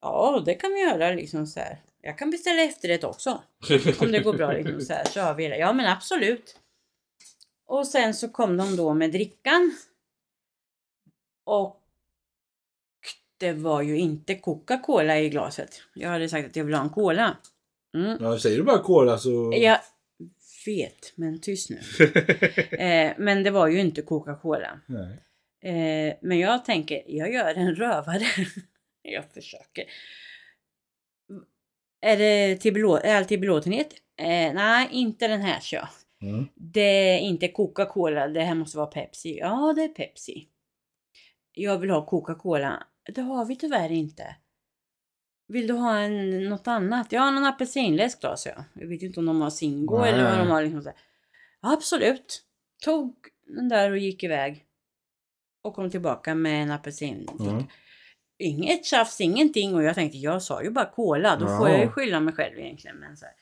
[SPEAKER 1] Ja, det kan vi göra liksom så här. Jag kan beställa efterrätt också om det går bra. Liksom, så här, så har vi det. Ja men absolut. Och sen så kom de då med drickan. Och det var ju inte Coca-Cola i glaset. Jag hade sagt att jag ville ha en cola. Mm.
[SPEAKER 2] Ja, säger du bara cola så...
[SPEAKER 1] Jag vet, men tyst nu. Eh, men det var ju inte Coca-Cola.
[SPEAKER 2] Nej.
[SPEAKER 1] Eh, men jag tänker, jag gör en rövare. jag försöker. Är, det till belå- är allt till belåtenhet? Eh, nej, inte den här kör.
[SPEAKER 2] Mm.
[SPEAKER 1] Det är inte Coca-Cola, det här måste vara Pepsi. Ja, det är Pepsi. Jag vill ha Coca-Cola. Det har vi tyvärr inte. Vill du ha en, något annat? Ja, någon apelsinläsk då, sa jag. Jag vet ju inte om de har Zingo
[SPEAKER 2] Nej.
[SPEAKER 1] eller vad de har. Liksom så här. Ja, absolut. Tog den där och gick iväg. Och kom tillbaka med en apelsin. typ.
[SPEAKER 2] Mm.
[SPEAKER 1] Inget tjafs, ingenting. Och jag tänkte, jag sa ju bara cola. Då får
[SPEAKER 2] Ja.
[SPEAKER 1] jag ju skylla mig själv egentligen. Men så här.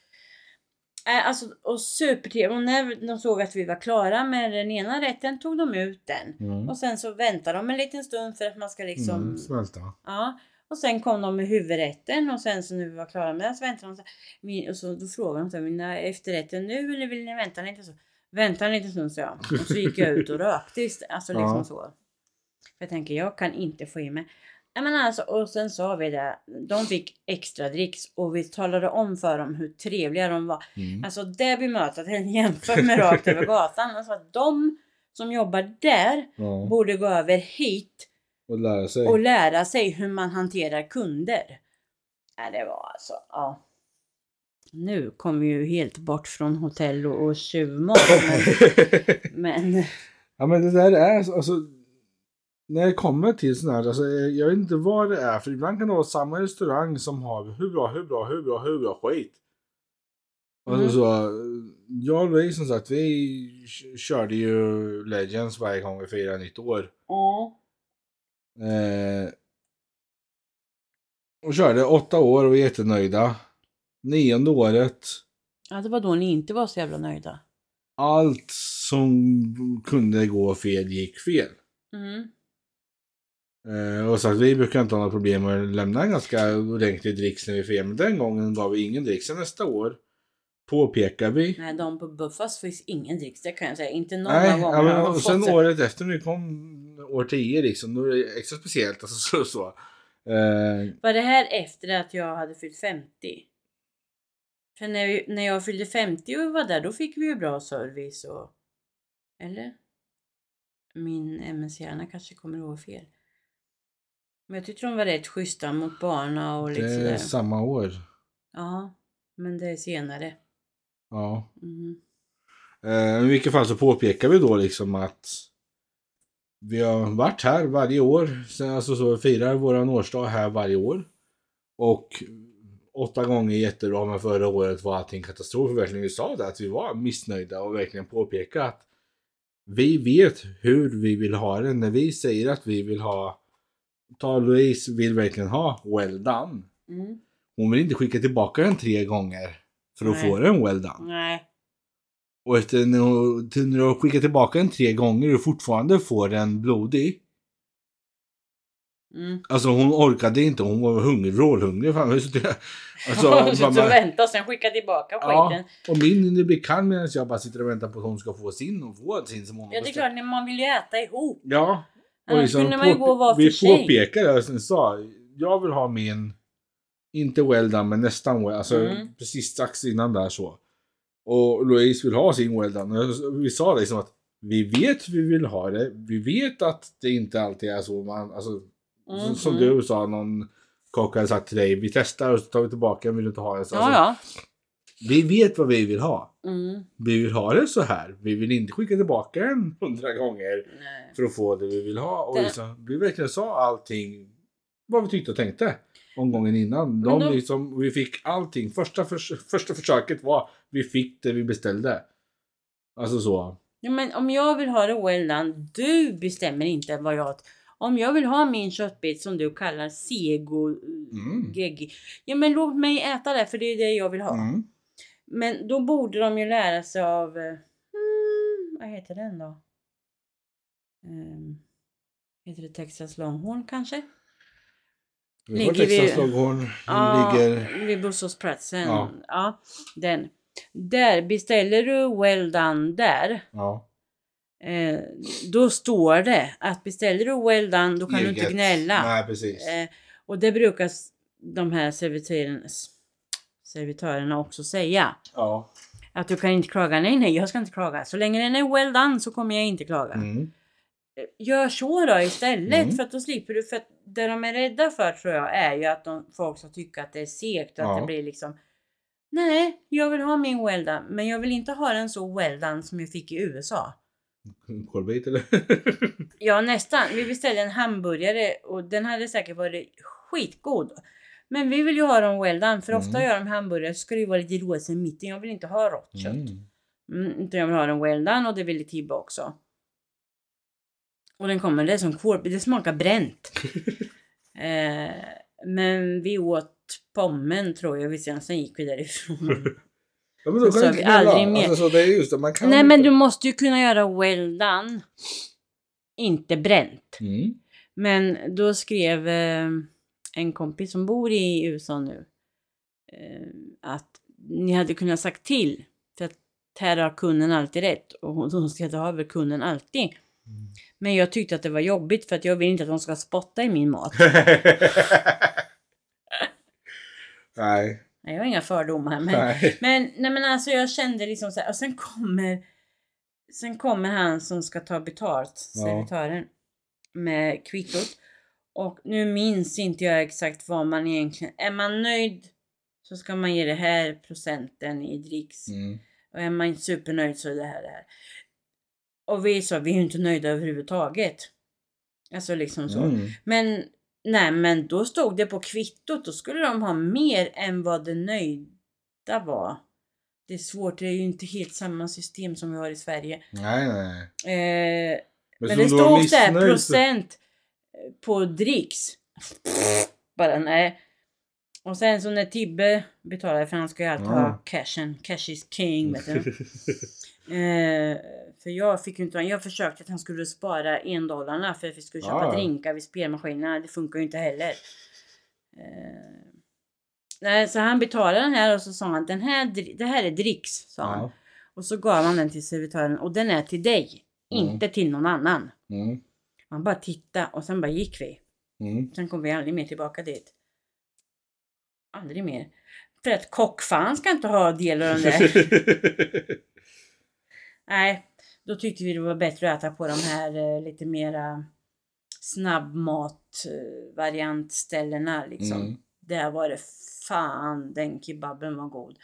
[SPEAKER 1] Eh, Alltså, och supertrevligt. Och när de såg att vi var klara med den ena rätten tog de ut den.
[SPEAKER 2] Mm.
[SPEAKER 1] Och sen så väntar de en liten stund för att man ska liksom...
[SPEAKER 2] Mm. Smälta.
[SPEAKER 1] Ja. Och sen kom de med huvudrätten och sen så när vi var klara med den så väntade de. Så, min- och så, då frågade de så här, vill ni ha efterrätten nu eller vill ni vänta lite? Så, vänta lite stund sa jag. Och så gick jag ut och rökte ist- Alltså
[SPEAKER 2] Ja.
[SPEAKER 1] liksom så. För jag tänker jag kan inte få i mig. Nej, Men alltså, och sen sa vi det. De fick extra dricks och vi talade om för dem hur trevliga de var.
[SPEAKER 2] Mm.
[SPEAKER 1] Alltså det bemötandet jämfört med rakt över gatan. Alltså att de som jobbar där
[SPEAKER 2] Ja.
[SPEAKER 1] borde gå över hit
[SPEAKER 2] Och lära sig.
[SPEAKER 1] och lära sig hur man hanterar kunder. Nej, det var alltså, ja. Nu kom vi ju helt bort från hotell och, och tjuvmat. Men, men
[SPEAKER 2] Ja men det där är så- alltså. När det kommer till sådana här, alltså, jag vet inte vad det är, för ibland kan det vara samma restaurang som har hur bra, hur bra, hur bra, hur bra skit.
[SPEAKER 1] Mm.
[SPEAKER 2] Alltså så, jag och Louise som sagt, vi k- körde ju Legends varje gång vi firade nytt år.
[SPEAKER 1] ja.
[SPEAKER 2] Eh, och körde åtta år och var jättenöjda. Nionde året,
[SPEAKER 1] ja, det var då ni inte var så jävla nöjda.
[SPEAKER 2] allt som kunde gå fel gick fel.
[SPEAKER 1] Mm.
[SPEAKER 2] Eh, och så att vi brukar inte ha några problem med att lämna en ganska ordentlig dricks när vi firar. Men den gången gav vi ingen dricks. Sen nästa år påpekar vi.
[SPEAKER 1] Nej, de på Buffas finns ingen dricks, det kan jag säga. Inte någon
[SPEAKER 2] Nej,
[SPEAKER 1] gång
[SPEAKER 2] ja,
[SPEAKER 1] har
[SPEAKER 2] men,
[SPEAKER 1] de
[SPEAKER 2] och
[SPEAKER 1] fått
[SPEAKER 2] sen
[SPEAKER 1] sig-
[SPEAKER 2] året efter nu kom år 10 liksom. Då är det extra speciellt. Alltså, så, så. Eh,
[SPEAKER 1] Var det här efter att jag hade fyllt 50? För när, vi, när jag fyllde 50 och var där, då fick vi ju bra service och... Eller? Min MS-hjärna kanske kommer ihåg fel. Men jag tyckte de var rätt schyssta mot barnen och lite
[SPEAKER 2] Det är
[SPEAKER 1] sådär.
[SPEAKER 2] samma år.
[SPEAKER 1] Ja, men det är senare.
[SPEAKER 2] Ja.
[SPEAKER 1] Mm.
[SPEAKER 2] Eh, I vilket fall så påpekar vi då liksom att vi har varit här varje år. Sen alltså så firar våran årsdag här varje år. Och åtta gånger jättebra men förra året var allting katastrof. Och verkligen vi sa det att vi var missnöjda och verkligen påpeka att vi vet hur vi vill ha det. När vi säger att vi vill ha Ta Louise vill verkligen ha well done.
[SPEAKER 1] Mm.
[SPEAKER 2] Hon vill inte skicka tillbaka den tre gånger för att
[SPEAKER 1] Nej.
[SPEAKER 2] få den well done.
[SPEAKER 1] Nej.
[SPEAKER 2] Och efter när hon- till- när du har skickat tillbaka den tre gånger och fortfarande får den blodig.
[SPEAKER 1] Mm.
[SPEAKER 2] Alltså hon orkade inte, hon var hungrig, vrålhungrig. Fan, hur ska jag- alltså,
[SPEAKER 1] Så, så,
[SPEAKER 2] mamma,
[SPEAKER 1] vänta och sen skicka tillbaka
[SPEAKER 2] Ja.
[SPEAKER 1] skiten.
[SPEAKER 2] och min hinner bli kall medan jag bara sitter och väntar på att hon ska få sin och få sin som hon har
[SPEAKER 1] Ja, det är
[SPEAKER 2] beställt.
[SPEAKER 1] klart, när man vill ju äta ihop.
[SPEAKER 2] Ja.
[SPEAKER 1] Annars kunde man ju
[SPEAKER 2] påpe-
[SPEAKER 1] gå och vara
[SPEAKER 2] liksom vi
[SPEAKER 1] för sig.
[SPEAKER 2] påpekade och sen sa jag vill ha min, inte well done men nästan well, alltså
[SPEAKER 1] Mm.
[SPEAKER 2] precis strax innan där så. Och Louise vill ha sin well done. Och så- Vi sa liksom att vi vet hur vi vill ha det, vi vet att det inte alltid är så man, alltså som-
[SPEAKER 1] Mhm.
[SPEAKER 2] som du sa någon kock hade sagt till dig, vi testar och så tar vi tillbaka, vill du inte ha det så.
[SPEAKER 1] Ja, ja.
[SPEAKER 2] Vi vet vad vi vill ha.
[SPEAKER 1] Mm.
[SPEAKER 2] Vi vill ha det så här. Vi vill inte skicka tillbaka den hundra gånger
[SPEAKER 1] Nej.
[SPEAKER 2] för att få det vi vill ha. Och
[SPEAKER 1] Det-
[SPEAKER 2] liksom, vi verkligen sa allting vad vi tyckte och tänkte omgången innan. De
[SPEAKER 1] då-
[SPEAKER 2] liksom, vi fick allting. Första, förs- första försöket var vi fick det vi beställde. Alltså så.
[SPEAKER 1] Ja, men om jag vill ha det well done, du bestämmer inte vad jag... Om jag vill ha min köttbit som du kallar sego...
[SPEAKER 2] Mm.
[SPEAKER 1] geggi, Ja men låt mig äta det för det är det jag vill ha.
[SPEAKER 2] Mm.
[SPEAKER 1] Men då borde de ju lära sig av... eh, Mm, vad heter den då? Ehm, heter det Texas Longhorn kanske?
[SPEAKER 2] Vi har
[SPEAKER 1] Ligger vi-
[SPEAKER 2] Texas Longhorn. Den ligger...
[SPEAKER 1] vid Bostadsprattsen.
[SPEAKER 2] Ja.
[SPEAKER 1] Ja. den. Där beställer du well done där.
[SPEAKER 2] Ja.
[SPEAKER 1] Eh, då står det att beställer du well done då kan du
[SPEAKER 2] eget.
[SPEAKER 1] inte gnälla.
[SPEAKER 2] Nej, precis.
[SPEAKER 1] Eh, och det brukar s- de här servitören, s- servitörerna också säga.
[SPEAKER 2] Ja.
[SPEAKER 1] Att du kan inte klaga. Nej, nej, jag ska inte klaga. Så länge den är well done så kommer jag inte klaga.
[SPEAKER 2] Mm.
[SPEAKER 1] Eh, Gör så då istället
[SPEAKER 2] Mm.
[SPEAKER 1] för att då slipper du. För att det de är rädda för tror jag är ju att de, folk ska tycka att det är segt och att
[SPEAKER 2] Ja.
[SPEAKER 1] det blir liksom Nej, jag vill ha min well done, men jag vill inte ha den så well done som jag fick i USA.
[SPEAKER 2] Kolbit eller?
[SPEAKER 1] Ja nästan. Vi beställde en hamburgare och den hade säkert varit skitgod. Men vi vill ju ha dem well done för ofta
[SPEAKER 2] Mm.
[SPEAKER 1] gör de hamburgare så ska det ju vara lite rosa i mitten. Jag vill inte ha rått kött.
[SPEAKER 2] Mm.
[SPEAKER 1] Mm, utan jag vill ha den well done och det ville Tibbe också. Och den kommer, det är som korv, det smakar bränt. eh, men vi åt pommen tror jag, vi sen, sen gick vi därifrån.
[SPEAKER 2] Ja, men då
[SPEAKER 1] Så
[SPEAKER 2] kan
[SPEAKER 1] sa
[SPEAKER 2] du
[SPEAKER 1] vi
[SPEAKER 2] inte gnälla.
[SPEAKER 1] aldrig mer.
[SPEAKER 2] Alltså, så det är just det, man kan
[SPEAKER 1] Nej men du
[SPEAKER 2] inte-
[SPEAKER 1] måste ju kunna göra well done. Inte bränt.
[SPEAKER 2] Mm.
[SPEAKER 1] Men då skrev eh, en kompis som bor i USA nu eh, att ni hade kunnat sagt till. För att här har kunden alltid rätt och de ska ta över kunden alltid.
[SPEAKER 2] Mm.
[SPEAKER 1] Men jag tyckte att det var jobbigt för att jag vill inte att de ska spotta i min mat.
[SPEAKER 2] Nej.
[SPEAKER 1] Nej, jag har inga fördomar. Men,
[SPEAKER 2] Nej.
[SPEAKER 1] men, nej, men alltså jag kände liksom så här, och sen kommer Sen kommer han som ska ta betalt,
[SPEAKER 2] Ja.
[SPEAKER 1] servitören, med kvittot. Och nu minns inte jag exakt vad man egentligen... Är man nöjd så ska man ge det här procenten i dricks.
[SPEAKER 2] Mm.
[SPEAKER 1] Och är man inte supernöjd så är det här det här. Och vi sa, vi är ju inte nöjda överhuvudtaget. Alltså liksom så.
[SPEAKER 2] Mm.
[SPEAKER 1] Men nej, men då stod det på kvittot. Då skulle de ha mer än vad det nöjda var. Det är svårt. Det är ju inte helt samma system som vi har i Sverige.
[SPEAKER 2] Nej, nej.
[SPEAKER 1] Eh, men,
[SPEAKER 2] som
[SPEAKER 1] det
[SPEAKER 2] du var
[SPEAKER 1] stod där
[SPEAKER 2] missnöjd så-
[SPEAKER 1] procent på dricks. Bara nej. Och sen så när Tibbe betalade, för han ska ju alltid ha
[SPEAKER 2] Ja.
[SPEAKER 1] cashen. Cash is king vet du. Eh, för jag fick ju inte, jag försökte att han skulle spara en dollarna för att vi skulle köpa
[SPEAKER 2] Ja.
[SPEAKER 1] drinkar vid spelmaskinerna. Det funkar ju inte heller. Eh, nej, så han betalade den här och så sa han den här, dri- det här är dricks. Sa han.
[SPEAKER 2] Ja.
[SPEAKER 1] Och så gav han den till servitören och den är till dig.
[SPEAKER 2] Mm.
[SPEAKER 1] Inte till någon annan.
[SPEAKER 2] Mm.
[SPEAKER 1] Han bara tittade och sen bara gick vi.
[SPEAKER 2] Mm.
[SPEAKER 1] Sen kom vi aldrig mer tillbaka dit. Aldrig mer. För att kockfan ska inte ha del av den där. Nej, då tyckte vi det var bättre att äta på de här eh, lite mera snabbmatvariantställena liksom.
[SPEAKER 2] Mm.
[SPEAKER 1] Där var det fan den kebaben var god.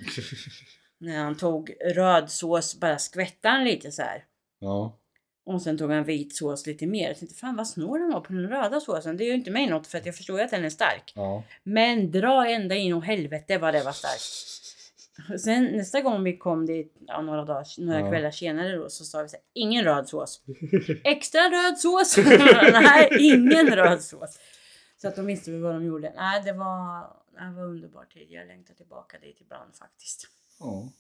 [SPEAKER 1] När han tog röd sås bara skvätte han lite så här.
[SPEAKER 2] ja.
[SPEAKER 1] Och sen tog han vit sås lite mer. Jag tänkte fan vad snål han var på den röda såsen. Det är ju inte mig något för att jag förstår ju att den är stark.
[SPEAKER 2] Ja.
[SPEAKER 1] Men dra ända in och helvete vad det var starkt. Och Sen nästa gång vi kom dit, ja, några, dagar, några
[SPEAKER 2] Ja.
[SPEAKER 1] kvällar senare då, så sa vi så här, ingen röd sås. Extra röd sås! Nej, ingen röd sås. Så att de visste väl vad de gjorde. Nej, det var, det var underbar tid. Jag längtar tillbaka dit ibland faktiskt.
[SPEAKER 2] ja.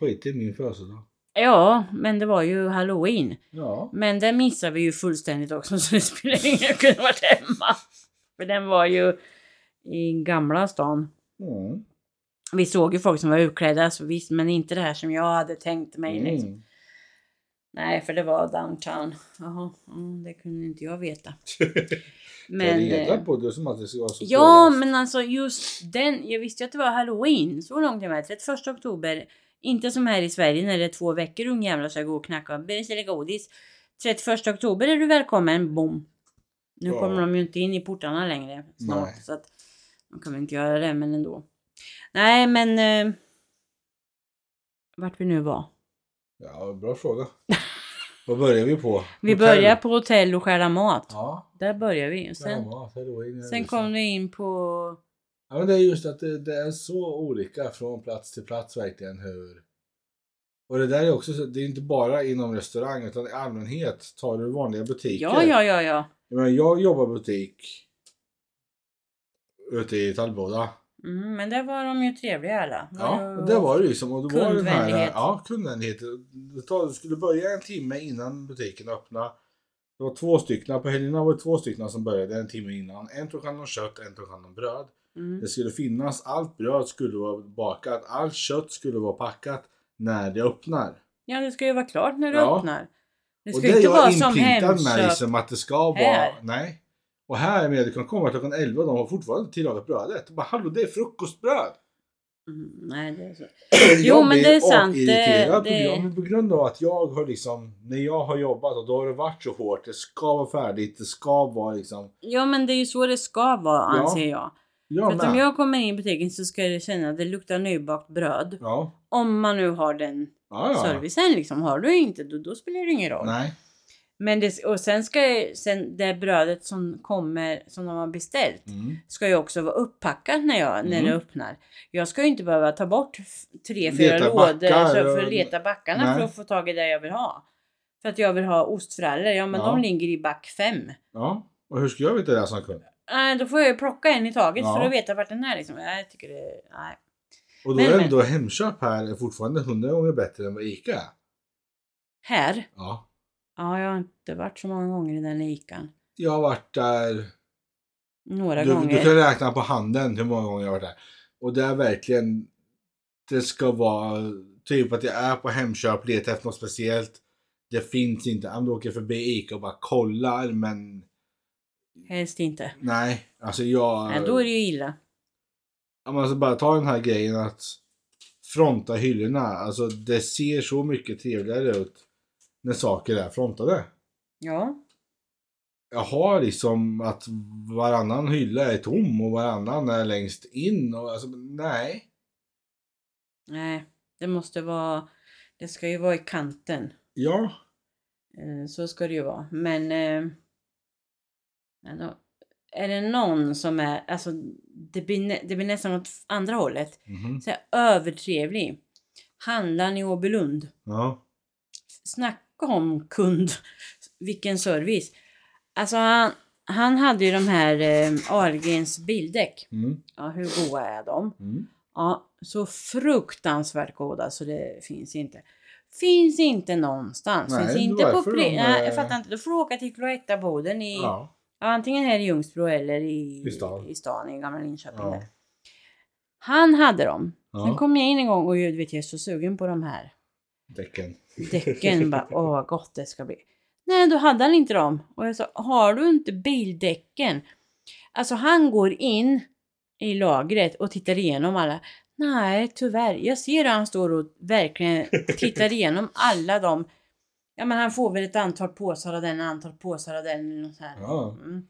[SPEAKER 2] Skit i min födelsedag.
[SPEAKER 1] Ja, men det var ju halloween.
[SPEAKER 2] Ja.
[SPEAKER 1] Men den missade vi ju fullständigt också så det spelar ingen roll. Jag kunde varit hemma. För den var ju i gamla stan.
[SPEAKER 2] Mm.
[SPEAKER 1] Vi såg ju folk som var utklädda, så visst, men inte det här som jag hade tänkt mig. Liksom.
[SPEAKER 2] Mm.
[SPEAKER 1] Nej, för det var downtown. Jaha, mm, det kunde inte jag veta.
[SPEAKER 2] Men,
[SPEAKER 1] Men,
[SPEAKER 2] reda
[SPEAKER 1] eh,
[SPEAKER 2] på det som att det ska vara så
[SPEAKER 1] ja,
[SPEAKER 2] dåligt.
[SPEAKER 1] men alltså just den. Jag visste ju att det var halloween. Så långt jag vet. 31 oktober. Inte som här i Sverige när det är två veckor ungjävlar ska gå och knacka. Bus eller godis. 31 oktober är du välkommen. Bom. Nu
[SPEAKER 2] Ja.
[SPEAKER 1] kommer de ju inte in i portarna längre. Snart,
[SPEAKER 2] Nej.
[SPEAKER 1] så att de kan väl inte göra det, men ändå. Nej, men. Eh, vart vi nu var.
[SPEAKER 2] Ja, bra fråga. Vad börjar vi på?
[SPEAKER 1] Vi
[SPEAKER 2] Hotell.
[SPEAKER 1] börjar på hotell och stjäla mat.
[SPEAKER 2] Ja.
[SPEAKER 1] Där börjar vi. Sen,
[SPEAKER 2] Sen, ja, halloween är
[SPEAKER 1] sen
[SPEAKER 2] liksom-
[SPEAKER 1] kom du in på...
[SPEAKER 2] Ja, men det är just att det, det är så olika från plats till plats verkligen hur... Och det där är också, så- det är inte bara inom restaurang utan i allmänhet tar du vanliga butiker.
[SPEAKER 1] Ja, ja, ja, ja.
[SPEAKER 2] Jag, menar, jag jobbar butik ute i Tallboda.
[SPEAKER 1] Mm, men där var de ju trevliga alla.
[SPEAKER 2] Ja,
[SPEAKER 1] ju-
[SPEAKER 2] och det var det ju liksom. Och det var den här,
[SPEAKER 1] Kundvänlighet.
[SPEAKER 2] ja, kundvänlighet. Det tar- Du skulle börja en timme innan butiken öppnade. Det var två stycken, på helgerna var det två stycken som började en timme innan. En tog hand om kött, en tog hand om bröd.
[SPEAKER 1] Mm.
[SPEAKER 2] Det skulle finnas, allt bröd skulle vara bakat, allt kött skulle vara packat när det öppnar.
[SPEAKER 1] Ja, det ska ju vara klart när du
[SPEAKER 2] Ja.
[SPEAKER 1] öppnar. Det
[SPEAKER 2] och
[SPEAKER 1] ska
[SPEAKER 2] det
[SPEAKER 1] ju inte vara som
[SPEAKER 2] inprintad med
[SPEAKER 1] Hemköp.
[SPEAKER 2] liksom att det ska vara,
[SPEAKER 1] här.
[SPEAKER 2] nej. Och här med, det kan komma klockan 11 och de har fortfarande inte tillagat brödet. Bara hallå det är frukostbröd!
[SPEAKER 1] Mm, nej, det är så.
[SPEAKER 2] Jag
[SPEAKER 1] Jo, men
[SPEAKER 2] blir
[SPEAKER 1] det är sant. Det-
[SPEAKER 2] irriterad på
[SPEAKER 1] det-
[SPEAKER 2] grund- på grund av att jag har liksom, när jag har jobbat och då har det varit så hårt, det ska vara färdigt, det ska vara liksom.
[SPEAKER 1] Ja, men det är ju så det ska vara
[SPEAKER 2] Ja,
[SPEAKER 1] anser jag.
[SPEAKER 2] Jag
[SPEAKER 1] För att om
[SPEAKER 2] med.
[SPEAKER 1] jag kommer in i butiken så ska jag känna att det luktar nybakt bröd.
[SPEAKER 2] Ja.
[SPEAKER 1] Om man nu har den
[SPEAKER 2] Ja, ja.
[SPEAKER 1] servicen liksom. Har du inte, då, då spelar det ingen roll.
[SPEAKER 2] Nej.
[SPEAKER 1] Men det, och sen ska ju- sen det brödet som kommer, som de har beställt.
[SPEAKER 2] Mm.
[SPEAKER 1] ska ju också vara upppackat när, jag, när det
[SPEAKER 2] Mm.
[SPEAKER 1] öppnar. Jag ska ju inte behöva ta bort f- tre,
[SPEAKER 2] Leta
[SPEAKER 1] fyra lådor
[SPEAKER 2] backar
[SPEAKER 1] alltså, för
[SPEAKER 2] och-
[SPEAKER 1] att leta backarna
[SPEAKER 2] Nej.
[SPEAKER 1] för att få tag i det jag vill ha. För att jag vill ha ostfrallor, ja men
[SPEAKER 2] Ja.
[SPEAKER 1] de ligger i back fem.
[SPEAKER 2] Ja. Och hur ska jag veta det som kund?
[SPEAKER 1] Äh, då får jag ju plocka en i taget
[SPEAKER 2] Ja.
[SPEAKER 1] för att veta vart den är liksom. Jag tycker det, nej.
[SPEAKER 2] Och då
[SPEAKER 1] Men,
[SPEAKER 2] är
[SPEAKER 1] men.
[SPEAKER 2] ändå Hemköp här är fortfarande hundra gånger bättre än vad ICA är.
[SPEAKER 1] Här?
[SPEAKER 2] Ja.
[SPEAKER 1] Ja, jag har inte varit så många gånger i den likan.
[SPEAKER 2] Jag har varit där,
[SPEAKER 1] Några
[SPEAKER 2] du,
[SPEAKER 1] gånger.
[SPEAKER 2] du kan räkna på handen hur många gånger jag har varit där. Och det är verkligen, det ska vara typ att jag är på Hemköp, letar efter något speciellt. Det finns inte, Ja, men då åker jag förbi ICA och bara kollar men
[SPEAKER 1] Helst inte.
[SPEAKER 2] nej. Alltså jag,
[SPEAKER 1] Nej, då är det ju illa.
[SPEAKER 2] Ja, men alltså bara ta den här grejen att fronta hyllorna. Alltså det ser så mycket trevligare ut när saker är frontade.
[SPEAKER 1] Ja.
[SPEAKER 2] jag har liksom att varannan hylla är tom och varannan är längst in. Och alltså, nej.
[SPEAKER 1] Nej. Det måste vara... Det ska ju vara i kanten.
[SPEAKER 2] Ja.
[SPEAKER 1] Eh, Så ska det ju vara. Men eh, men då- är det någon som är, alltså det blir, nä- det blir nästan åt andra hållet.
[SPEAKER 2] Mhm.
[SPEAKER 1] Så här, övertrevlig. Handlaren i Åbylund.
[SPEAKER 2] Ja.
[SPEAKER 1] Snacka om kund. Vilken service. Alltså han, han hade ju de här eh, Ahlgrens bildäck.
[SPEAKER 2] Mm.
[SPEAKER 1] Ja, hur goda är de?
[SPEAKER 2] Mm.
[SPEAKER 1] Ja, så fruktansvärt goda så det finns inte. Finns inte någonstans.
[SPEAKER 2] Nej,
[SPEAKER 1] finns inte på
[SPEAKER 2] varför
[SPEAKER 1] pri-
[SPEAKER 2] de är-
[SPEAKER 1] Nej, jag fattar inte. Då får du åka till Cloettaboden i... Ja.
[SPEAKER 2] Ja.
[SPEAKER 1] antingen här i Ljungsbro eller i,
[SPEAKER 2] I stan.
[SPEAKER 1] i stan i gamla Linköping.
[SPEAKER 2] Ja.
[SPEAKER 1] Där. Han hade dem.
[SPEAKER 2] Ja.
[SPEAKER 1] Sen kom jag in en gång och jag, du vet, jag är så sugen på de här
[SPEAKER 2] Däcken.
[SPEAKER 1] däcken. bara, Åh, vad gott det ska bli. Nej, då hade han inte dem. Och jag sa, har du inte bildäcken? Alltså han går in i lagret och tittar igenom alla. Nej, tyvärr. Jag ser hur han står och verkligen tittar igenom alla de... Ja, men han får väl ett antal påsar av den, ett antal påsar av den. eller något så här.
[SPEAKER 2] Ja.
[SPEAKER 1] Mm.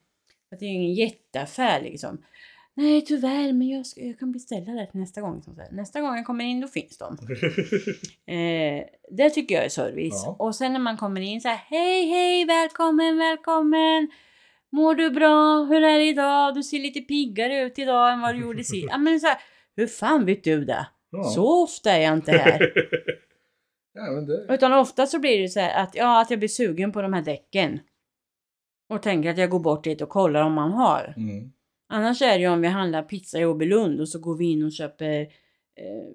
[SPEAKER 1] Att det är ju ingen jätteaffär liksom. Nej, tyvärr, men jag, ska, jag kan beställa det till nästa gång. Som så här. Nästa gång jag kommer in, då finns de. Eh, det tycker jag är service.
[SPEAKER 2] Ja.
[SPEAKER 1] Och sen när man kommer in så här, hej hej, välkommen, välkommen! Mår du bra? Hur är det idag? Du ser lite piggare ut idag än vad du gjorde sist. Ja, men så här, hur fan vet du det?
[SPEAKER 2] Ja.
[SPEAKER 1] Så ofta är jag inte här.
[SPEAKER 2] ja, men det...
[SPEAKER 1] Utan ofta så blir det så här att, ja, att jag blir sugen på de här däcken. Och tänker att jag går bort dit och kollar om man har.
[SPEAKER 2] Mm.
[SPEAKER 1] Annars är det ju om vi handlar pizza i Åbylund och så går vi in och köper eh,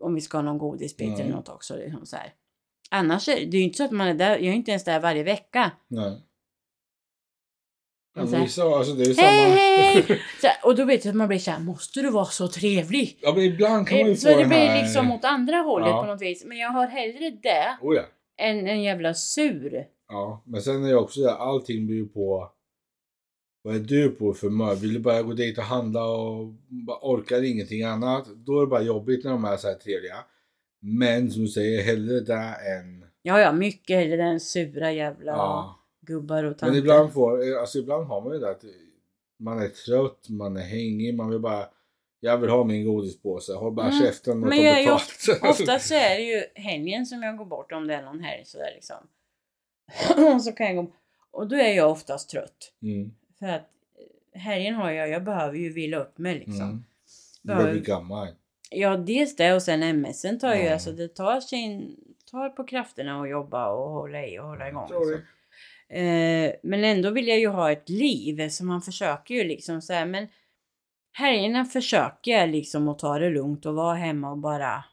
[SPEAKER 1] om vi ska ha någon godisbit
[SPEAKER 2] Mm.
[SPEAKER 1] eller något också. Liksom så här. Annars är det det är ju inte så att man är där. Jag är inte ens där varje vecka.
[SPEAKER 2] Nej. Ja,
[SPEAKER 1] Och
[SPEAKER 2] men
[SPEAKER 1] så här,
[SPEAKER 2] vissa, alltså, det är ju
[SPEAKER 1] Hej
[SPEAKER 2] samma...
[SPEAKER 1] hej! Så här, och då vet jag att man blir så här, måste du vara så trevlig?
[SPEAKER 2] Ja, men ibland kan man ju
[SPEAKER 1] Eh,
[SPEAKER 2] få
[SPEAKER 1] Så det
[SPEAKER 2] den
[SPEAKER 1] blir
[SPEAKER 2] här...
[SPEAKER 1] liksom åt andra hållet
[SPEAKER 2] Ja.
[SPEAKER 1] på något vis. Men jag har hellre det
[SPEAKER 2] Oh, ja.
[SPEAKER 1] än en jävla sur.
[SPEAKER 2] ja, men sen är det också det, allting blir ju på... Vad är du på för humör? Vill du bara gå dit och handla och bara orkar ingenting annat? Då är det bara jobbigt när de är så här trevliga. Men som du säger, hellre det än...
[SPEAKER 1] Ja, ja, mycket hellre den sura jävla gubbar och
[SPEAKER 2] Men
[SPEAKER 1] tanter.
[SPEAKER 2] ibland, får, alltså ibland har man ju det att man är trött, man är hängig, man vill bara Jag vill ha min godispåse, håll bara
[SPEAKER 1] Mm.
[SPEAKER 2] käften och ta
[SPEAKER 1] Men jag är ju
[SPEAKER 2] betalt.
[SPEAKER 1] Oftast så är det ju helgen som jag går bort om det är någon helg sådär liksom. Och så kan jag gå och då är jag oftast trött.
[SPEAKER 2] mm.
[SPEAKER 1] För att eh, helgen har jag, jag behöver ju vila upp mig liksom.
[SPEAKER 2] Mm. Du
[SPEAKER 1] Behöver-
[SPEAKER 2] börjar bli gammal.
[SPEAKER 1] Ja, dels det och sen MSen tar ju,
[SPEAKER 2] Ja.
[SPEAKER 1] alltså det tar sin, tar på krafterna och jobba och hålla i och hålla igång.
[SPEAKER 2] Tror du?
[SPEAKER 1] Liksom. Eh, men ändå vill jag ju ha ett liv så man försöker ju liksom så här, men helgerna försöker jag liksom att ta det lugnt och vara hemma och bara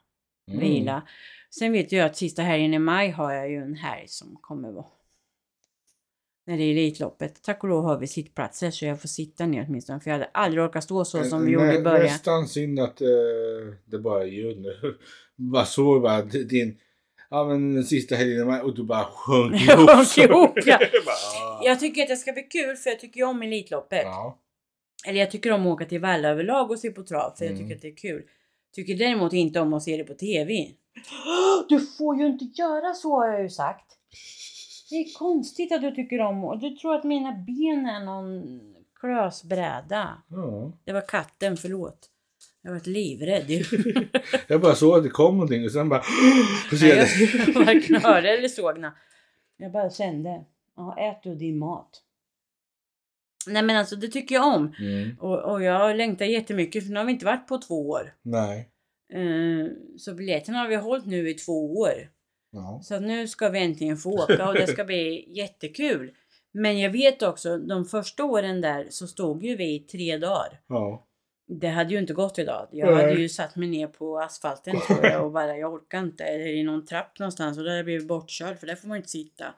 [SPEAKER 2] Mm.
[SPEAKER 1] vila. Sen vet jag att sista helgen i maj har jag ju en helg som kommer vara när det är Elitloppet. Tack och lov har vi sittplatser så jag får sitta ner åtminstone för jag hade aldrig orkat stå så som vi
[SPEAKER 2] Nä-
[SPEAKER 1] gjorde i början.
[SPEAKER 2] Nästan synd att eh, det bara är jul nu. Bara såg bara d- din Ja men den sista helgen i maj och du bara sjönk
[SPEAKER 1] Jag
[SPEAKER 2] ihop.
[SPEAKER 1] sjönk ihop, ja.
[SPEAKER 2] bara, ah.
[SPEAKER 1] Jag tycker att det ska bli kul för jag tycker ju om Elitloppet.
[SPEAKER 2] ja.
[SPEAKER 1] Eller jag tycker om att åka till Valla överlag och se på trav för jag
[SPEAKER 2] Mm.
[SPEAKER 1] tycker att det är kul. Tycker däremot inte om att se det på TV. Du får ju inte göra så har jag ju sagt. Det är konstigt att du tycker om och du tror att mina ben är någon klösbräda.
[SPEAKER 2] ja.
[SPEAKER 1] Det var katten, förlåt. Jag varit livrädd ju.
[SPEAKER 2] Jag bara såg att det kom någonting och sen bara... Så ser
[SPEAKER 1] Nej,
[SPEAKER 2] jag-
[SPEAKER 1] Jag varken hörde eller såg nå. Jag bara kände. Ja, ät du din mat. Nej men alltså det tycker jag om.
[SPEAKER 2] Mm.
[SPEAKER 1] Och, och jag längtar jättemycket för nu har vi inte varit på två år.
[SPEAKER 2] Nej.
[SPEAKER 1] Eh, Så biljetterna har vi hållit nu i två år.
[SPEAKER 2] Ja.
[SPEAKER 1] Så att nu ska vi äntligen få åka och det ska bli jättekul. Men jag vet också, de första åren där så stod ju vi i tre dagar.
[SPEAKER 2] ja.
[SPEAKER 1] Det hade ju inte gått idag. Jag hade
[SPEAKER 2] Nej.
[SPEAKER 1] ju satt mig ner på asfalten tror jag och bara jag orkar inte. Eller i någon trapp någonstans och där hade jag blivit bortkörd för där får man ju inte sitta.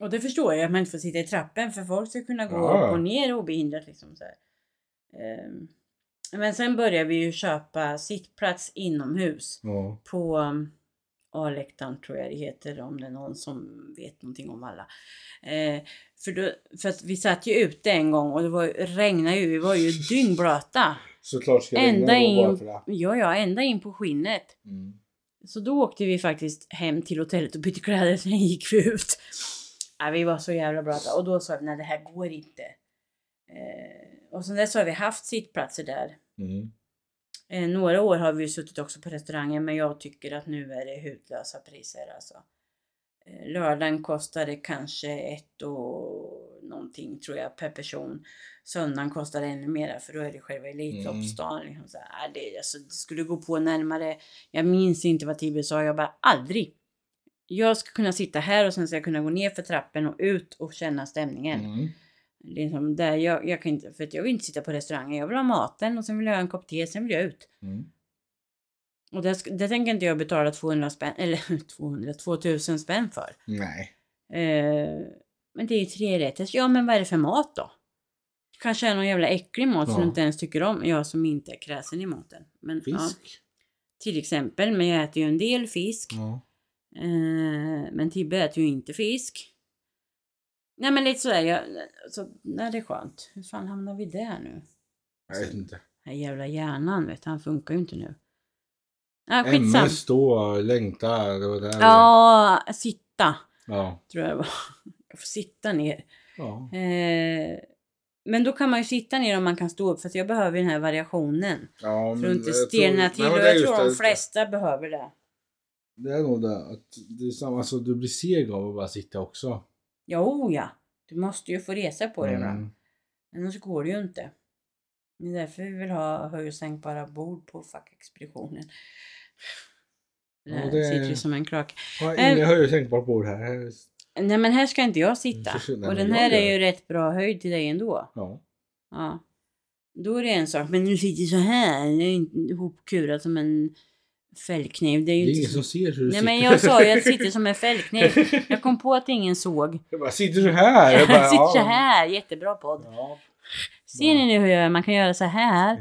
[SPEAKER 1] Och det förstår jag att man inte får sitta i trappen för folk ska kunna gå
[SPEAKER 2] Ja.
[SPEAKER 1] upp och ner obehindrat liksom så här. Ehm, Men sen började vi ju köpa sittplats inomhus
[SPEAKER 2] Ja.
[SPEAKER 1] på um, A-läktaren tror jag det heter om det är någon som vet någonting om alla. Eh, för, då, för att vi satt ju ute en gång och det var, ju- regnade ju, vi var ju dyngblöta.
[SPEAKER 2] Såklart ska jag
[SPEAKER 1] Ända
[SPEAKER 2] ringa då bara
[SPEAKER 1] in,
[SPEAKER 2] för det.
[SPEAKER 1] ja, ja, ända in på skinnet.
[SPEAKER 2] Mm.
[SPEAKER 1] Så då åkte vi faktiskt hem till hotellet och bytte kläder, sen gick vi ut. Ja, vi var så jävla blöta och då sa vi nej det här går inte. Eh, och sen dess har vi haft sittplatser där.
[SPEAKER 2] Mm.
[SPEAKER 1] Eh, några år har vi ju suttit också på restauranger men jag tycker att nu är det hutlösa priser alltså. Eh, lördagen kostade kanske ett och någonting tror jag per person. Söndagen kostar ännu mera för då är det själva Elitloppsdagen. Liksom så här, ah, det, alltså, det skulle gå på närmare. Jag minns inte vad Tibbe sa, jag bara aldrig. Jag ska kunna sitta här och sen ska jag kunna gå ner för trappen och ut och känna stämningen.
[SPEAKER 2] Mm.
[SPEAKER 1] Liksom där jag, jag kan inte, för att jag vill inte sitta på restaurangen. Jag vill ha maten och sen vill jag ha en kopp te, sen vill jag ut.
[SPEAKER 2] Mm.
[SPEAKER 1] Och det, sk- det tänker inte jag betala 200 spänn, eller 200, 2000 spänn för.
[SPEAKER 2] Nej.
[SPEAKER 1] Eh, men det är ju trerätters. Ja, men vad är det för mat då? Det kanske är någon jävla äcklig mat som
[SPEAKER 2] Ja.
[SPEAKER 1] du inte ens tycker om. Jag som inte är kräsen i maten. Men, ja,
[SPEAKER 2] Fisk.
[SPEAKER 1] till exempel, men jag äter ju en del fisk.
[SPEAKER 2] Ja.
[SPEAKER 1] Eh, men Tibbe äter ju inte fisk. Nej men lite sådär, jag, så, nej det är skönt. Hur fan hamnar vi där nu?
[SPEAKER 2] Jag vet inte.
[SPEAKER 1] Den här jävla hjärnan vet du, han funkar ju inte nu. Ja, skitsam.
[SPEAKER 2] MS, stå, längta, det var där.
[SPEAKER 1] Ja, sitta
[SPEAKER 2] Ja.
[SPEAKER 1] tror jag det var. Jag får sitta ner.
[SPEAKER 2] ja.
[SPEAKER 1] Eh, men då kan man ju sitta ner om man kan stå upp för att jag behöver ju den här variationen.
[SPEAKER 2] ja
[SPEAKER 1] Så du inte
[SPEAKER 2] jag
[SPEAKER 1] stelnar till.
[SPEAKER 2] Nej, men
[SPEAKER 1] och
[SPEAKER 2] det är
[SPEAKER 1] jag
[SPEAKER 2] just
[SPEAKER 1] tror de
[SPEAKER 2] det.
[SPEAKER 1] flesta behöver det.
[SPEAKER 2] Det är nog det. Att det är samma, alltså, du blir seg av att bara sitta också.
[SPEAKER 1] Jo, ja. Du måste ju få resa på det ibland.
[SPEAKER 2] Mm.
[SPEAKER 1] Annars går det ju inte. Det är därför vi vill ha höj och sänkbara bord på fackexpeditionen.
[SPEAKER 2] Ja,
[SPEAKER 1] Där
[SPEAKER 2] det-
[SPEAKER 1] sitter ju som en krak.
[SPEAKER 2] Ja,
[SPEAKER 1] Eh,
[SPEAKER 2] Inga höjer sänkbart bord här.
[SPEAKER 1] Nej men här ska inte jag sitta.
[SPEAKER 2] Precis, nej,
[SPEAKER 1] och
[SPEAKER 2] men
[SPEAKER 1] den
[SPEAKER 2] jag
[SPEAKER 1] här är
[SPEAKER 2] gör
[SPEAKER 1] ju rätt bra höjd till dig ändå.
[SPEAKER 2] Ja.
[SPEAKER 1] Ja. Då är det en sak. Men nu sitter så här. Jag är inte ihopkurad som en fällkniv. Det är
[SPEAKER 2] Det
[SPEAKER 1] ju
[SPEAKER 2] är
[SPEAKER 1] inte...
[SPEAKER 2] ingen som ser hur du
[SPEAKER 1] Nej
[SPEAKER 2] sitter.
[SPEAKER 1] men jag sa ju att jag sitter som en fällkniv. Jag kom på att ingen såg.
[SPEAKER 2] Jag bara, sitter du här?
[SPEAKER 1] Jag
[SPEAKER 2] Jag bara,
[SPEAKER 1] sitter så
[SPEAKER 2] ja.
[SPEAKER 1] här. Jättebra podd.
[SPEAKER 2] Ja.
[SPEAKER 1] Ser ni nu hur jag gör? Man kan göra så här.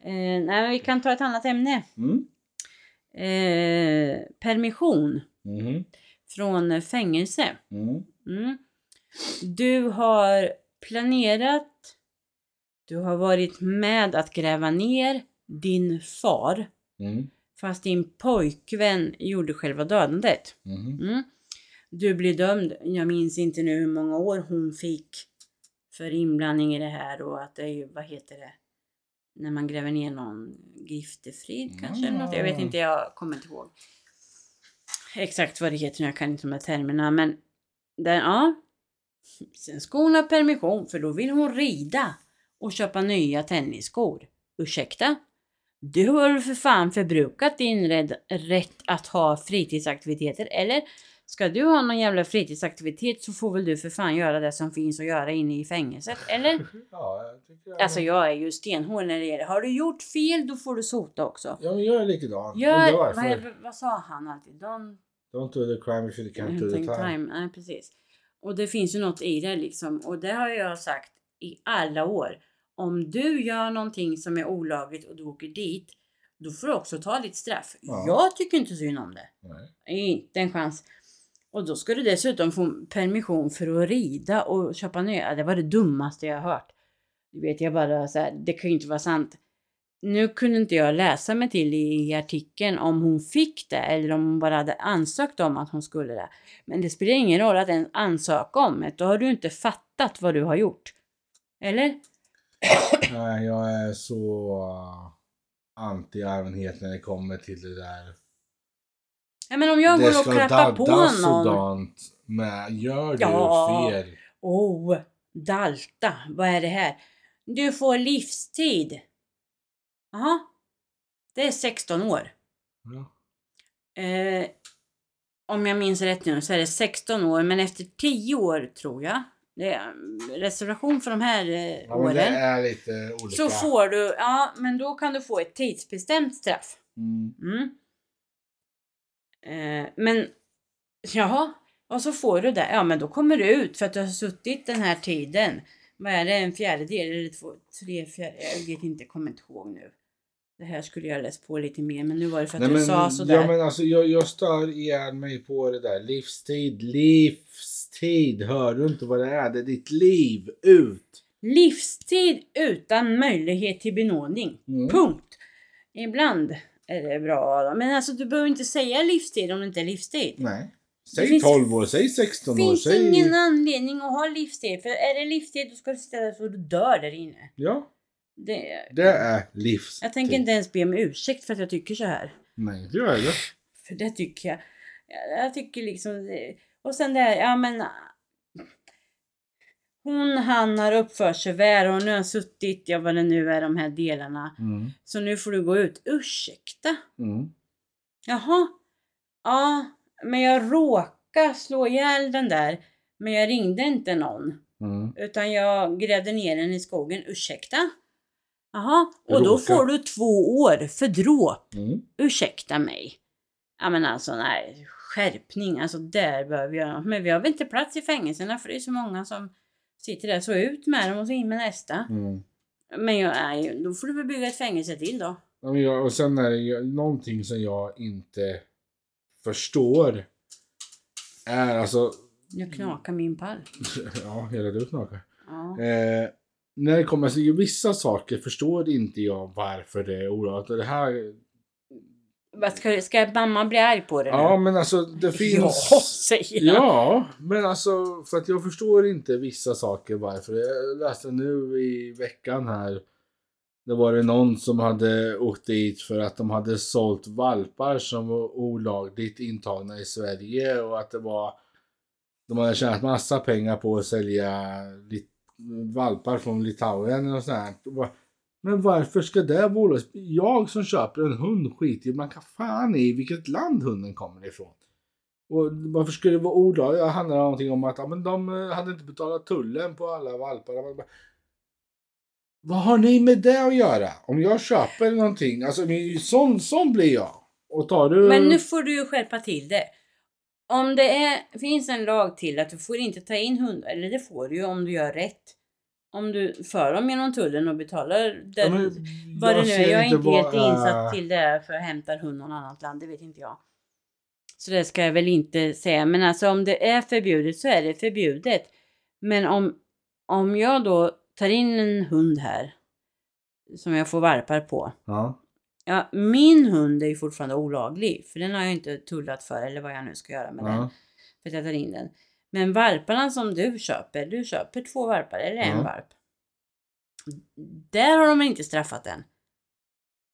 [SPEAKER 1] Eh, nej, men vi kan ta ett annat ämne.
[SPEAKER 2] Mm.
[SPEAKER 1] Eh, permission
[SPEAKER 2] Mhm.
[SPEAKER 1] från fängelse.
[SPEAKER 2] Mm.
[SPEAKER 1] Mm. Du har planerat. Du har varit med att gräva ner din far.
[SPEAKER 2] Mm.
[SPEAKER 1] Fast din pojkvän gjorde själva dödandet.
[SPEAKER 2] Mhm.
[SPEAKER 1] Mm. Du blir dömd, jag minns inte nu hur många år hon fick för inblandning i det här och att det är ju, vad heter det, när man gräver ner någon griftefrid kanske eller något. Jag vet
[SPEAKER 2] Mm.
[SPEAKER 1] inte, jag kommer inte ihåg exakt vad det heter nu, jag kan inte de här termerna men där, ja. Sen ska hon ha permission för då vill hon rida och köpa nya tennisskor. Ursäkta? Du har väl för fan förbrukat din red, rätt att ha fritidsaktiviteter eller? Ska du ha någon jävla fritidsaktivitet så får väl du för fan göra det som finns att göra inne i fängelset eller?
[SPEAKER 2] Ja, jag tycker jag...
[SPEAKER 1] Alltså jag är ju stenhård när det gäller har du gjort fel då får du sota också.
[SPEAKER 2] Ja, men jag är likadan.
[SPEAKER 1] Gör,
[SPEAKER 2] Undrar varför.
[SPEAKER 1] vad, vad sa han alltid? Don't
[SPEAKER 2] Don't do the crime if you can't do the
[SPEAKER 1] Hunting
[SPEAKER 2] time.
[SPEAKER 1] time. Nej, precis. Och det finns ju något i det liksom. Och det har jag sagt i alla år. Om du gör någonting som är olagligt och du åker dit, då får du också ta ditt straff.
[SPEAKER 2] Ja.
[SPEAKER 1] Jag tycker inte synd om det.
[SPEAKER 2] Nej.
[SPEAKER 1] Inte en chans. Och då ska du dessutom få permission för att rida och köpa nya. Det var det dummaste jag har hört. Du vet, jag bara så här, det kan ju inte vara sant. Nu kunde inte jag läsa mig till i artikeln om hon fick det eller om hon bara hade ansökt om att hon skulle det. Men det spelar ingen roll att ens ansöka om det. Då har du inte fattat vad du har gjort. Eller?
[SPEAKER 2] Nej, jag är så anti allmänhet när det kommer till det där.
[SPEAKER 1] Ja, men om jag går
[SPEAKER 2] det
[SPEAKER 1] och klappar på någon.
[SPEAKER 2] sådant med. Gör du
[SPEAKER 1] Ja.
[SPEAKER 2] fel?
[SPEAKER 1] Oh, Dalta, vad är det här? Du får livstid. Jaha. Det är 16 år.
[SPEAKER 2] Ja.
[SPEAKER 1] Eh, om jag minns rätt nu så är det 16 år, men efter 10 år tror jag. Det är mm, reservation för de här eh,
[SPEAKER 2] Ja, men det
[SPEAKER 1] åren.
[SPEAKER 2] är lite olika.
[SPEAKER 1] Så får du, ja men då kan du få ett tidsbestämt straff.
[SPEAKER 2] Mm.
[SPEAKER 1] Mm. Eh, men jaha, och så får du det. Ja, men då kommer du ut för att du har suttit den här tiden. Vad är det, en fjärdedel eller två, tre fjärdedelar? Jag vet inte, kommer inte ihåg nu. Det här skulle jag läst på lite mer, men nu var det för att
[SPEAKER 2] Nej,
[SPEAKER 1] du
[SPEAKER 2] men,
[SPEAKER 1] sa sådär.
[SPEAKER 2] ja, men alltså, jag, jag stör ihjäl mig på det där. Livstid, livstid. Hör du inte vad det är? Det är ditt liv. Ut!
[SPEAKER 1] Livstid utan möjlighet till benådning.
[SPEAKER 2] Mm.
[SPEAKER 1] Punkt. Ibland är det bra, men alltså du behöver inte säga livstid om det inte är livstid.
[SPEAKER 2] Nej.
[SPEAKER 1] Det
[SPEAKER 2] Säg
[SPEAKER 1] finns-
[SPEAKER 2] 12 år, säg 16 år,
[SPEAKER 1] finns
[SPEAKER 2] säg...
[SPEAKER 1] ingen anledning att ha livstid. För är det livstid då ska du sitta där så du dör där inne.
[SPEAKER 2] Ja,
[SPEAKER 1] Det,
[SPEAKER 2] det är livstid.
[SPEAKER 1] jag tänker inte ens be om ursäkt för att jag tycker så här.
[SPEAKER 2] Nej, det gör jag inte.
[SPEAKER 1] För det tycker jag. Jag, jag tycker liksom... det- Och sen det här, ja men... Hon, han har uppfört sig väl och nu har han suttit, ja vad det nu är, de här delarna.
[SPEAKER 2] Mm.
[SPEAKER 1] Så nu får du gå ut. Ursäkta?
[SPEAKER 2] Mm.
[SPEAKER 1] Jaha. Ja, men jag råkade slå ihjäl den där. Men jag ringde inte någon.
[SPEAKER 2] Mm.
[SPEAKER 1] Utan jag grävde ner den i skogen. Ursäkta? Jaha, och då
[SPEAKER 2] Råka.
[SPEAKER 1] får du två år för dråp.
[SPEAKER 2] Mm.
[SPEAKER 1] Ursäkta mig. Ja men alltså nej, skärpning. Alltså där behöver vi göra något. Men vi har väl inte plats i fängelserna för det är så många som sitter där. Så ut med dem och så in med nästa.
[SPEAKER 2] Mm.
[SPEAKER 1] Men jag, nej, då får du väl bygga ett fängelse till då.
[SPEAKER 2] Ja, men jag, och sen är det ju någonting som jag inte förstår. Är alltså... Mm.
[SPEAKER 1] Nu knakar min pall.
[SPEAKER 2] Ja, hela du knakar.
[SPEAKER 1] Ja.
[SPEAKER 2] Eh, när det kommer till vissa saker förstår inte jag varför det är olagligt. Och Det här,
[SPEAKER 1] Vad Ska, ska mamma bli arg på det
[SPEAKER 2] ja
[SPEAKER 1] nu?
[SPEAKER 2] men alltså det finns...
[SPEAKER 1] Ja, säger jag.
[SPEAKER 2] Ja, men alltså för att jag förstår inte vissa saker varför. Jag läste nu i veckan här. Det var det någon som hade åkt dit för att de hade sålt valpar som var olagligt intagna i Sverige och att det var de hade tjänat massa pengar på att sälja lit, valpar från Litauen och sånt här. Och bara, Men varför ska det vara olagligt? Jag som köper en hund skiter ju blanka fan i vilket land hunden kommer ifrån. Och varför skulle det vara olagligt? Det handlar någonting om att ja, men de eh, hade inte betalat tullen på alla valpar. Man bara, Vad har ni med det att göra? Om jag köper någonting, alltså men sån, sån blir jag. Och tar du...
[SPEAKER 1] Men nu får du ju skärpa till det. Om det är, finns en lag till att du får inte ta in hundar, eller det får du ju om du gör rätt. Om du för dem genom tullen och betalar den,
[SPEAKER 2] Ja, men
[SPEAKER 1] vad det
[SPEAKER 2] jag
[SPEAKER 1] nu
[SPEAKER 2] ser
[SPEAKER 1] är. Jag är inte
[SPEAKER 2] vad,
[SPEAKER 1] helt
[SPEAKER 2] eh,
[SPEAKER 1] insatt till det här för att hämta en hund någon annat land, det vet inte jag. Så det ska jag väl inte säga. Men alltså om det är förbjudet så är det förbjudet. Men om, om jag då tar in en hund här som jag får varpar på.
[SPEAKER 2] Ja.
[SPEAKER 1] Ja, min hund är ju fortfarande olaglig för den har jag inte tullat för eller vad jag nu ska göra med den.
[SPEAKER 2] ja.
[SPEAKER 1] För att jag tar in den. Men varparna som du köper, du köper två varpar eller en
[SPEAKER 2] Ja.
[SPEAKER 1] varp. Där har de inte straffat den.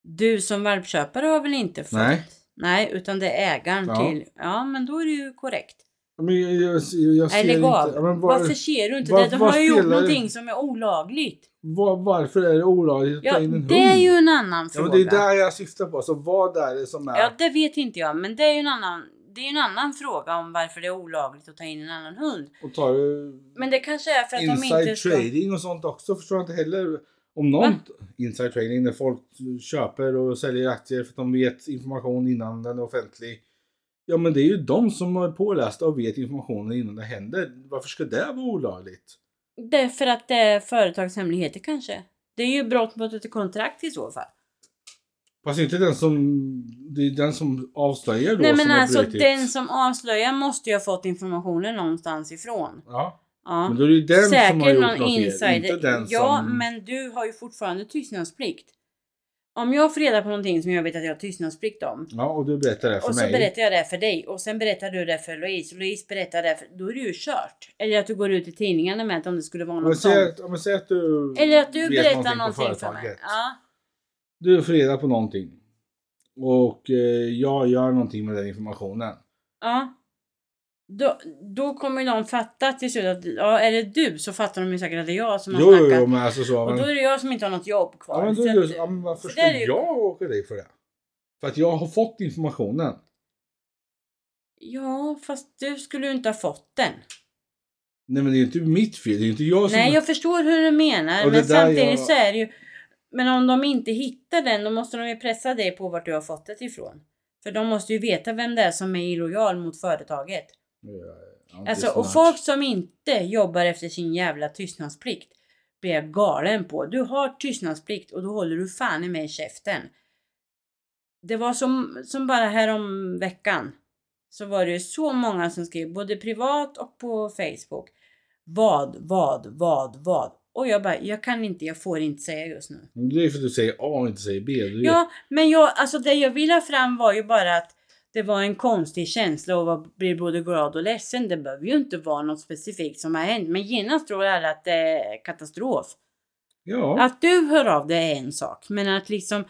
[SPEAKER 1] Du som valpköpare har väl inte fått?
[SPEAKER 2] Nej.
[SPEAKER 1] Nej, utan det är ägaren
[SPEAKER 2] Ja.
[SPEAKER 1] till. Ja, men då är det ju korrekt.
[SPEAKER 2] Men jag, jag, jag ser
[SPEAKER 1] Eller
[SPEAKER 2] inte...
[SPEAKER 1] gav.
[SPEAKER 2] Ja, men var,
[SPEAKER 1] Varför ser du inte
[SPEAKER 2] var-
[SPEAKER 1] det? De
[SPEAKER 2] var
[SPEAKER 1] har ju gjort
[SPEAKER 2] spelar det-
[SPEAKER 1] någonting som är olagligt.
[SPEAKER 2] var, varför är det olagligt att
[SPEAKER 1] Ja,
[SPEAKER 2] ta in en hund?
[SPEAKER 1] det är ju en annan
[SPEAKER 2] ja,
[SPEAKER 1] fråga.
[SPEAKER 2] men det är där jag syftar på. Så vad är det som är...
[SPEAKER 1] Ja, det vet inte jag, men det är ju en annan, det är en annan fråga om varför det är olagligt att ta in en annan hund.
[SPEAKER 2] Och tar du...
[SPEAKER 1] Men det kanske är för att de inte
[SPEAKER 2] Inside
[SPEAKER 1] ska...
[SPEAKER 2] trading och sånt också förstår jag inte heller. Om någon inside trading när folk köper och säljer aktier för att de vet information innan den är offentlig. Ja men det är ju de som är pålästa och vet informationen innan det händer. Varför ska det vara olagligt?
[SPEAKER 1] Det är för att det är företagshemligheter kanske. Det är ju brott mot ett kontrakt i så fall.
[SPEAKER 2] Fast inte den som, det är den som avslöjar då
[SPEAKER 1] Nej men
[SPEAKER 2] som har
[SPEAKER 1] alltså
[SPEAKER 2] brutit.
[SPEAKER 1] den som avslöjar måste ju ha fått informationen någonstans ifrån.
[SPEAKER 2] Ja,
[SPEAKER 1] Ja.
[SPEAKER 2] men då är det ju den som har
[SPEAKER 1] Säkert
[SPEAKER 2] gjort
[SPEAKER 1] någon
[SPEAKER 2] något fel,
[SPEAKER 1] insider.
[SPEAKER 2] Inte den
[SPEAKER 1] ja,
[SPEAKER 2] som...
[SPEAKER 1] men du har ju fortfarande tystnadsplikt. Om jag får reda på någonting som jag vet att jag har tystnadsplikt om.
[SPEAKER 2] Ja, och du berättar det för
[SPEAKER 1] Och så
[SPEAKER 2] mig.
[SPEAKER 1] berättar jag det för dig och sen berättar du det för Louise och Louise berättar det för... Då är det ju kört. Eller att du går ut i tidningarna med att om det skulle vara
[SPEAKER 2] Om jag
[SPEAKER 1] något
[SPEAKER 2] säger
[SPEAKER 1] sånt.
[SPEAKER 2] att- om jag säger att du
[SPEAKER 1] Eller att du
[SPEAKER 2] vet
[SPEAKER 1] berättar
[SPEAKER 2] på
[SPEAKER 1] någonting för mig.
[SPEAKER 2] företaget.
[SPEAKER 1] Ja.
[SPEAKER 2] Du får reda på någonting. Och eh, jag gör någonting med den informationen.
[SPEAKER 1] ja. Då, då kommer ju de fatta till slut att ja, är det du så fattar de ju säkert att det är jag som har
[SPEAKER 2] Jo, jo,
[SPEAKER 1] snackat.
[SPEAKER 2] jo, men alltså så.
[SPEAKER 1] och
[SPEAKER 2] Men,
[SPEAKER 1] då är det jag som inte har något jobb kvar.
[SPEAKER 2] ja, men då
[SPEAKER 1] Så
[SPEAKER 2] är det,
[SPEAKER 1] att-
[SPEAKER 2] så- ja, men varför
[SPEAKER 1] så
[SPEAKER 2] ska
[SPEAKER 1] där är ju-
[SPEAKER 2] jag åka dig för det? För att jag har fått informationen.
[SPEAKER 1] ja, fast du skulle ju inte ha fått den.
[SPEAKER 2] Nej, men det är ju inte mitt fel. Det är ju inte jag som...
[SPEAKER 1] Nej, jag förstår hur du menar.
[SPEAKER 2] Och det
[SPEAKER 1] Men
[SPEAKER 2] där
[SPEAKER 1] samtidigt
[SPEAKER 2] jag-
[SPEAKER 1] så är det ju... Men om de inte hittar den, då måste de ju pressa dig på vart du har fått det ifrån. För de måste ju veta vem det är som är illojal mot företaget.
[SPEAKER 2] Ja, inte
[SPEAKER 1] Alltså,
[SPEAKER 2] smart.
[SPEAKER 1] och folk som inte jobbar efter sin jävla tystnadsplikt blir jag galen på. Du har tystnadsplikt och då håller du fan i mig i käften. Det var som, som bara härom veckan så var det ju så många som skrev både privat och på Facebook. Vad, vad, vad, vad? Och jag bara, jag kan inte, jag får inte säga just nu.
[SPEAKER 2] Men Det är för att du säger A och inte säger B. Du vet.
[SPEAKER 1] Ja, men jag, alltså det jag ville ha fram var ju bara att det var en konstig känsla och var, blir både glad och ledsen. Det behöver ju inte vara något specifikt som har hänt, men genast tror alla att det är katastrof.
[SPEAKER 2] ja.
[SPEAKER 1] Att du hör av dig är en sak, men att liksom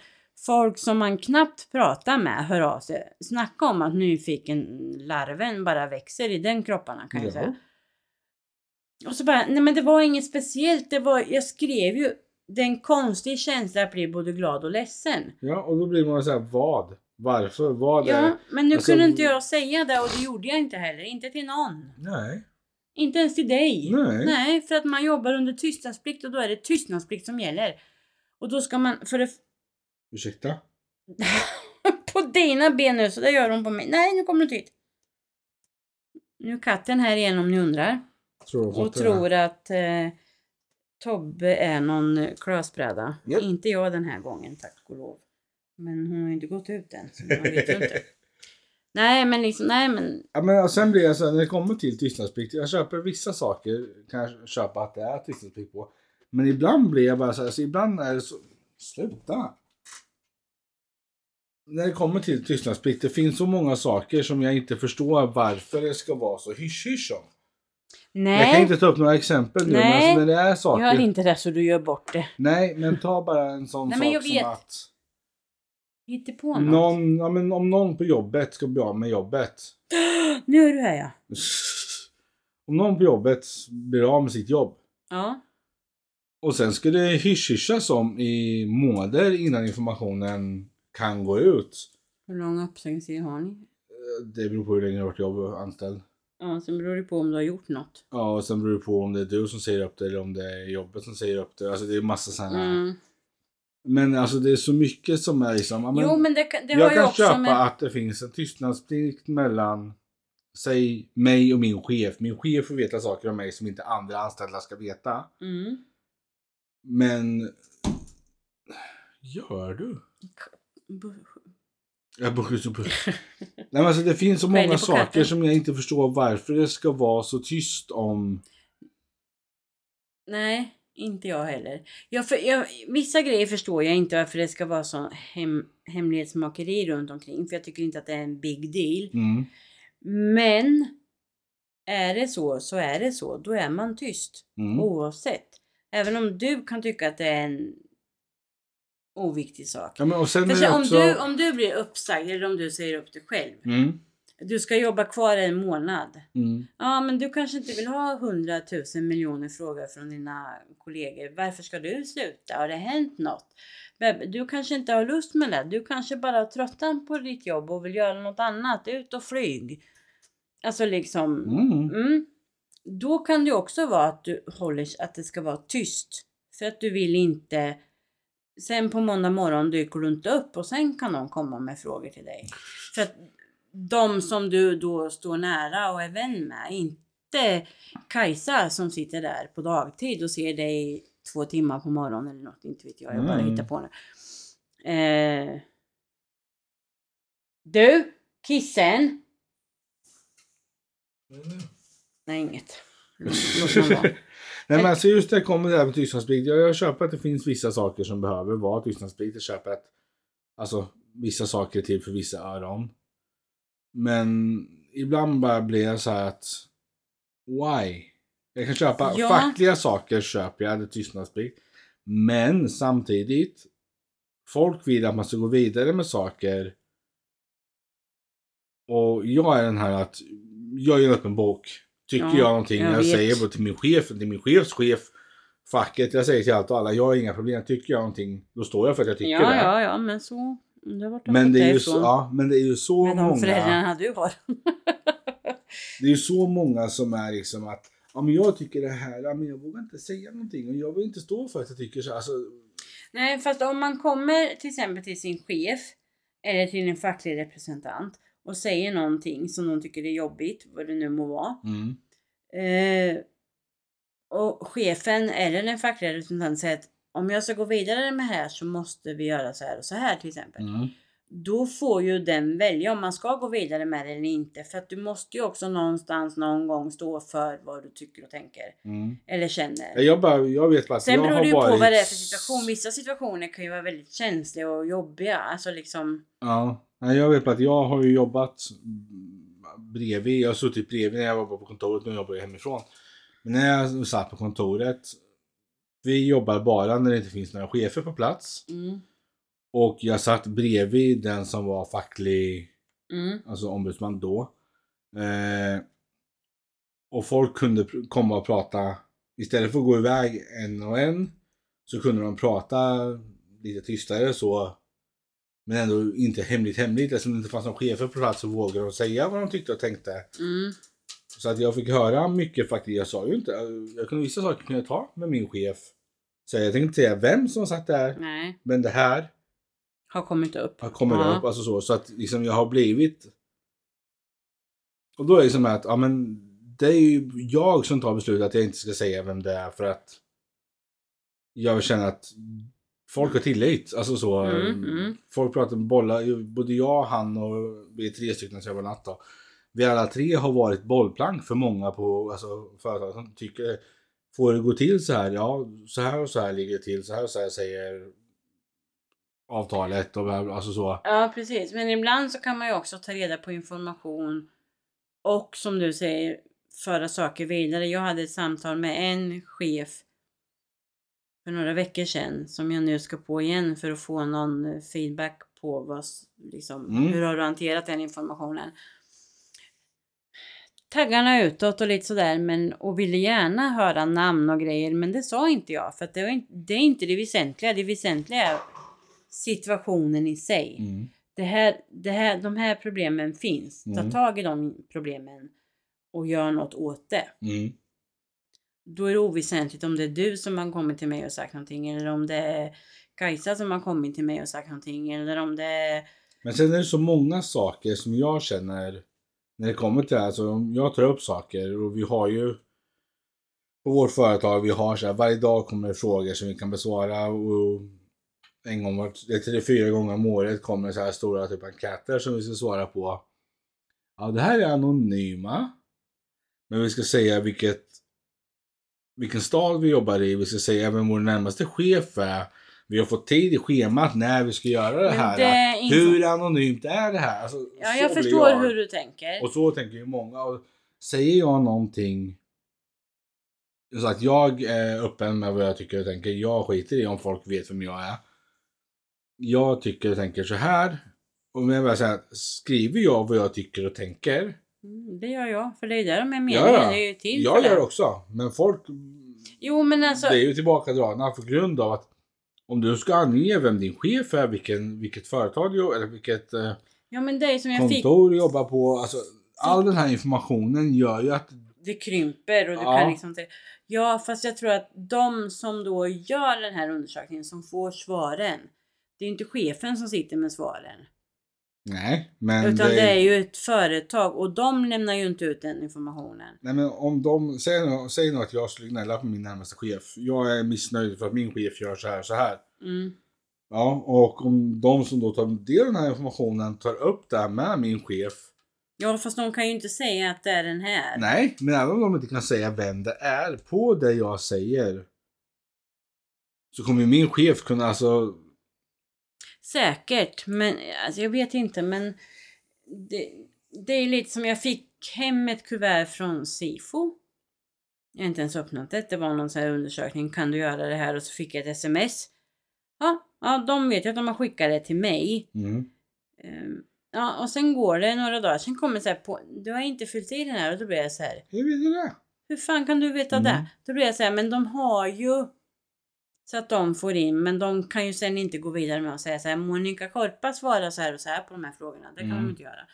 [SPEAKER 1] folk som man knappt pratar med hör av sig. Snacka om att nyfiken-larven bara växer i den kropparna kan jag
[SPEAKER 2] Ja.
[SPEAKER 1] säga. Och så bara, nej men det var inget speciellt. Det var, jag skrev ju, det är en konstig känsla att bli både glad och ledsen.
[SPEAKER 2] ja, och då blir man så här, vad? Varför? Vad är
[SPEAKER 1] Ja,
[SPEAKER 2] det?
[SPEAKER 1] men nu
[SPEAKER 2] Alltså-
[SPEAKER 1] kunde inte jag säga det och det gjorde jag inte heller. Inte till någon.
[SPEAKER 2] Nej.
[SPEAKER 1] Inte ens till dig.
[SPEAKER 2] Nej.
[SPEAKER 1] för att man jobbar under tystnadsplikt och då är det tystnadsplikt som gäller. Och då ska man, för det,
[SPEAKER 2] Ursäkta?
[SPEAKER 1] på dina ben nu, så det gör hon på mig. Nej, nu kommer du inte hit. Nu är katten här igen om ni undrar.
[SPEAKER 2] Tror du jag
[SPEAKER 1] Och
[SPEAKER 2] fattar det här?
[SPEAKER 1] tror att eh, Tobbe är någon eh, klösbräda.
[SPEAKER 2] Japp.
[SPEAKER 1] Inte jag den här gången, tack och lov. Men hon har ju inte gått ut än, så man vet ju inte. Nej, men liksom, nej men
[SPEAKER 2] Ja, men och sen blir jag så här, när det kommer till tystnadsplikt. Jag köper vissa saker, kan jag köpa att det är tystnadsplikt på. Men ibland blir jag bara så här, så ibland är det så... Sluta! När det kommer till tystnadsplikt, det finns så många saker som jag inte förstår varför det ska vara så hysch-hysch om. Jag kan
[SPEAKER 1] Nej,
[SPEAKER 2] inte ta upp några exempel nu, men
[SPEAKER 1] Nej.
[SPEAKER 2] alltså när det är saker...
[SPEAKER 1] gör inte det så du gör bort det.
[SPEAKER 2] Nej, men ta bara en sån
[SPEAKER 1] Nej,
[SPEAKER 2] sak
[SPEAKER 1] men jag
[SPEAKER 2] som
[SPEAKER 1] vet.
[SPEAKER 2] att...
[SPEAKER 1] Hitta på något.
[SPEAKER 2] Någon, ja, men om någon på jobbet ska bli av med jobbet.
[SPEAKER 1] Nu är du här ja.
[SPEAKER 2] Om någon på jobbet blir av med sitt jobb.
[SPEAKER 1] Ja.
[SPEAKER 2] Och sen ska det hysch-hyschas om i månader innan informationen kan gå ut.
[SPEAKER 1] Hur lång uppsägningstid har ni?
[SPEAKER 2] Det beror på hur länge du har varit jobb och anställd.
[SPEAKER 1] Ja, sen beror det på om du har gjort något.
[SPEAKER 2] Ja, och sen beror det på om det är du som säger upp det eller om det är jobbet som säger upp det. Alltså det är massa sådana.
[SPEAKER 1] Mm.
[SPEAKER 2] Men alltså det är så mycket som är liksom. ja, Men,
[SPEAKER 1] jo, men det, kan- det har
[SPEAKER 2] jag
[SPEAKER 1] ju
[SPEAKER 2] kan
[SPEAKER 1] också
[SPEAKER 2] köpa
[SPEAKER 1] med...
[SPEAKER 2] att det finns en tystnadsplikt mellan säg mig och min chef. Min chef får veta saker om mig som inte andra anställda ska veta.
[SPEAKER 1] Mm.
[SPEAKER 2] Men gör du?
[SPEAKER 1] Bu-
[SPEAKER 2] Jag bara skjuter på. Nej, men alltså, det finns så
[SPEAKER 1] Skäller
[SPEAKER 2] många
[SPEAKER 1] på katten.
[SPEAKER 2] saker som jag inte förstår varför det ska vara så tyst om.
[SPEAKER 1] Nej, inte jag heller. Jag för, jag, vissa grejer förstår jag inte varför det ska vara så hem, hemlighetsmakeri runt omkring. För jag tycker inte att det är en big deal.
[SPEAKER 2] Mm.
[SPEAKER 1] Men är det så så är det så. Då är man tyst.
[SPEAKER 2] Mm.
[SPEAKER 1] Oavsett. Även om du kan tycka att det är en oviktig sak.
[SPEAKER 2] Ja, men, och sen
[SPEAKER 1] För
[SPEAKER 2] är
[SPEAKER 1] så,
[SPEAKER 2] det
[SPEAKER 1] om,
[SPEAKER 2] också...
[SPEAKER 1] du, om du blir uppsagd eller om du säger upp dig själv.
[SPEAKER 2] Mm.
[SPEAKER 1] Du ska jobba kvar en månad.
[SPEAKER 2] Mm.
[SPEAKER 1] Ja, men du kanske inte vill ha hundratusen miljoner frågor från dina kollegor. Varför ska du sluta? Har det hänt något? Men Du kanske inte har lust med det. Du kanske bara har tröttnat på ditt jobb och vill göra något annat. Ut och flyg. Alltså liksom.
[SPEAKER 2] Mm.
[SPEAKER 1] Mm. Då kan det ju också vara att du håller att det ska vara tyst. För att du vill inte. Sen på måndag morgon dyker du inte upp och sen kan de komma med frågor till dig. För att de som du då står nära och är vän med, inte Kajsa som sitter där på dagtid och ser dig två timmar på morgonen eller något, inte vet jag, jag bara
[SPEAKER 2] Mm.
[SPEAKER 1] hittar på nu. Eh, du, kissen! Nej, inget. Låt mig vara.
[SPEAKER 2] Nej, men alltså just det kommer det här med tystnadsplikt. Jag, jag köper att det finns vissa saker som behöver vara tystnadsplikt. Jag köper att alltså, vissa saker är till för vissa öron. Men ibland bara blir jag så här att why? Jag kan köpa
[SPEAKER 1] Ja.
[SPEAKER 2] fackliga saker köper jag, det är tystnadsplikt. Men samtidigt folk vill att man ska gå vidare med saker. Och jag är den här att jag gör upp en bok. Tycker
[SPEAKER 1] Ja,
[SPEAKER 2] jag någonting,
[SPEAKER 1] jag
[SPEAKER 2] jag,
[SPEAKER 1] vet.
[SPEAKER 2] säger bara till min chef, till min chefs chef, facket, jag säger till allt och alla, jag har inga problem. Tycker jag någonting, då står jag för att jag tycker
[SPEAKER 1] ja,
[SPEAKER 2] det.
[SPEAKER 1] ja, ja, men så. mm, Det har varit
[SPEAKER 2] Men det, är ju så, ja, men det är ju så
[SPEAKER 1] Med de
[SPEAKER 2] många.
[SPEAKER 1] föräldrarna du har.
[SPEAKER 2] Det är ju så många som är liksom att ja, men jag tycker det här, ja, men jag vågar inte säga någonting och jag vill inte stå för att jag tycker så. här." Alltså,
[SPEAKER 1] Nej, fast om man kommer till exempel till sin chef eller till en facklig representant och säger någonting som de tycker är jobbigt, vad det nu må vara.
[SPEAKER 2] mm,
[SPEAKER 1] Eh, och chefen eller den fackliga representanten säger att om jag ska gå vidare med det här så måste vi göra så här och så här till exempel.
[SPEAKER 2] mm,
[SPEAKER 1] Då får ju den välja om man ska gå vidare med det eller inte. För att du måste ju också någonstans någon gång stå för vad du tycker och tänker.
[SPEAKER 2] mm.
[SPEAKER 1] Eller känner.
[SPEAKER 2] Ja, Jag, bara, jag vet bara att
[SPEAKER 1] Sen
[SPEAKER 2] jag
[SPEAKER 1] beror
[SPEAKER 2] har
[SPEAKER 1] det ju på
[SPEAKER 2] varit-
[SPEAKER 1] vad det är för situation. Vissa situationer kan ju vara väldigt känsliga och jobbiga. Alltså liksom...
[SPEAKER 2] Ja, nej, jag vet bara att jag har ju jobbat mm, bredvid. Jag har suttit bredvid när jag var på kontoret. Nu jobbar jag hemifrån. Men när jag satt på kontoret. Vi jobbar bara när det inte finns några chefer på plats.
[SPEAKER 1] Mm,
[SPEAKER 2] Och jag satt bredvid den som var facklig,
[SPEAKER 1] mm,
[SPEAKER 2] alltså ombudsman då. Eh, och folk kunde pr- komma och prata. Istället för att gå iväg en och en så kunde de prata lite tystare så. Men ändå inte hemligt hemligt. Eftersom det inte fanns någon chefer på plats så vågade de säga vad de tyckte och tänkte.
[SPEAKER 1] mm,
[SPEAKER 2] Så att jag fick höra mycket faktiskt. Jag sa ju inte. Jag kunde vissa saker kunde jag ta med min chef. Så jag tänkte inte säga vem som satt där.
[SPEAKER 1] nej.
[SPEAKER 2] Men det här
[SPEAKER 1] Har kommit upp.
[SPEAKER 2] jag kommer
[SPEAKER 1] Ja.
[SPEAKER 2] upp. Alltså så, så att liksom jag har blivit... Och då är det som att, ja men det är ju jag som tar beslutet att jag inte ska säga vem det är för att jag känner att folk har tillit. Alltså så.
[SPEAKER 1] Mm, mm.
[SPEAKER 2] Folk pratar med bollar. Både jag, han och vi är tre stycken som jobbar natt då. Vi alla tre har varit bollplank för många på alltså, företag som tycker Får det gå till så här? Ja, så här och så här ligger det till. Så här och så här säger avtalet och bla, bla, alltså så.
[SPEAKER 1] Ja, precis. Men ibland så kan man ju också ta reda på information och som du säger föra saker vidare. Jag hade ett samtal med en chef för några veckor sedan som jag nu ska på igen för att få någon feedback på vad, s- liksom,
[SPEAKER 2] Mm.
[SPEAKER 1] hur har du hanterat den informationen. Taggarna utåt och lite sådär men och ville gärna höra namn och grejer men det sa inte jag för att det, var inte, det är inte det väsentliga. Det väsentliga är situationen i sig
[SPEAKER 2] Mm.
[SPEAKER 1] det här, det här, de här problemen finns.
[SPEAKER 2] Mm.
[SPEAKER 1] Ta tag i de problemen och gör något åt det.
[SPEAKER 2] Mm.
[SPEAKER 1] Då är det oväsentligt om det är du som har kommit till mig och sagt någonting eller om det är Kajsa som har kommit till mig och sagt någonting eller om det är...
[SPEAKER 2] Men sen är det så många saker som jag känner när det kommer till det här. Så om jag tar upp saker och vi har ju på vårt företag, vi har så här, varje dag kommer det frågor som vi kan besvara och en gång vart, eller tre, fyra gånger om året kommer så här stora typ enkäter som vi ska svara på. Ja, det här är anonyma. Men vi ska säga vilket, vilken stad vi jobbar i, vi ska säga vem vår närmaste chef är. Vi har fått tid i schemat när vi ska göra det
[SPEAKER 1] Men
[SPEAKER 2] här.
[SPEAKER 1] det är inte-
[SPEAKER 2] Hur anonymt är det här? Alltså,
[SPEAKER 1] Ja,
[SPEAKER 2] så
[SPEAKER 1] jag
[SPEAKER 2] blir
[SPEAKER 1] förstår
[SPEAKER 2] jag.
[SPEAKER 1] hur du tänker.
[SPEAKER 2] Och så tänker ju många. Och säger jag någonting så att jag är öppen med vad jag tycker och tänker. Jag skiter i om folk vet vem jag är. Jag tycker och tänker så här. Och men jag bara så här, skriver jag vad jag tycker och tänker?
[SPEAKER 1] Mm, Det gör jag, för det är där de är
[SPEAKER 2] Ja,
[SPEAKER 1] meningen.
[SPEAKER 2] ja.
[SPEAKER 1] Det är ju till för
[SPEAKER 2] jag gör
[SPEAKER 1] det.
[SPEAKER 2] också. Men folk
[SPEAKER 1] Jo, men alltså...
[SPEAKER 2] blir ju tillbakadragna på grund av att om du ska ange vem din chef är, vilken, vilket företag du eller vilket eh,
[SPEAKER 1] Ja, men det är som jag fick.
[SPEAKER 2] kontor du jobbar på. Alltså, all den här informationen gör ju att
[SPEAKER 1] det krymper och du
[SPEAKER 2] Ja.
[SPEAKER 1] kan liksom inte... Ja, fast jag tror att de som då gör den här undersökningen som får svaren. Det är ju inte chefen som sitter med svaren.
[SPEAKER 2] Nej, men,
[SPEAKER 1] utan
[SPEAKER 2] det,
[SPEAKER 1] det... är ju ett företag och de lämnar ju inte ut den informationen.
[SPEAKER 2] Nej, men om de säger, nå- säger nog att jag skulle gnälla på min närmaste chef. Jag är missnöjd för att min chef gör så här så här.
[SPEAKER 1] Mm.
[SPEAKER 2] Ja, och om de som då tar del av den här informationen tar upp det här med min chef.
[SPEAKER 1] Ja, fast de kan ju inte säga att det är den här.
[SPEAKER 2] Nej, men även om de inte kan säga vem det är på det jag säger. Så kommer ju min chef kunna alltså.
[SPEAKER 1] Säkert, men alltså, jag vet inte. Men det, det är lite som jag fick hem ett kuvert från Sifo. Jag har inte ens öppnat det. Det var någon sån här undersökning. Kan du göra det här? Och så fick jag ett sms. Ja, ja de vet ju att de har skickat det till mig.
[SPEAKER 2] Mm,
[SPEAKER 1] Ehm, Ja, och sen går det några dagar. Sen kommer så här på. Du har inte fyllt i den här. Och då blir jag så här.
[SPEAKER 2] hur vet du det?
[SPEAKER 1] Hur fan kan du veta
[SPEAKER 2] Mm.
[SPEAKER 1] det? Då blir jag så här. Men de har ju. Så att de får in, men de kan ju sen inte gå vidare med att säga så här, Monica Korpa svarar så här och så här på de här frågorna. Det kan
[SPEAKER 2] Mm.
[SPEAKER 1] de inte göra.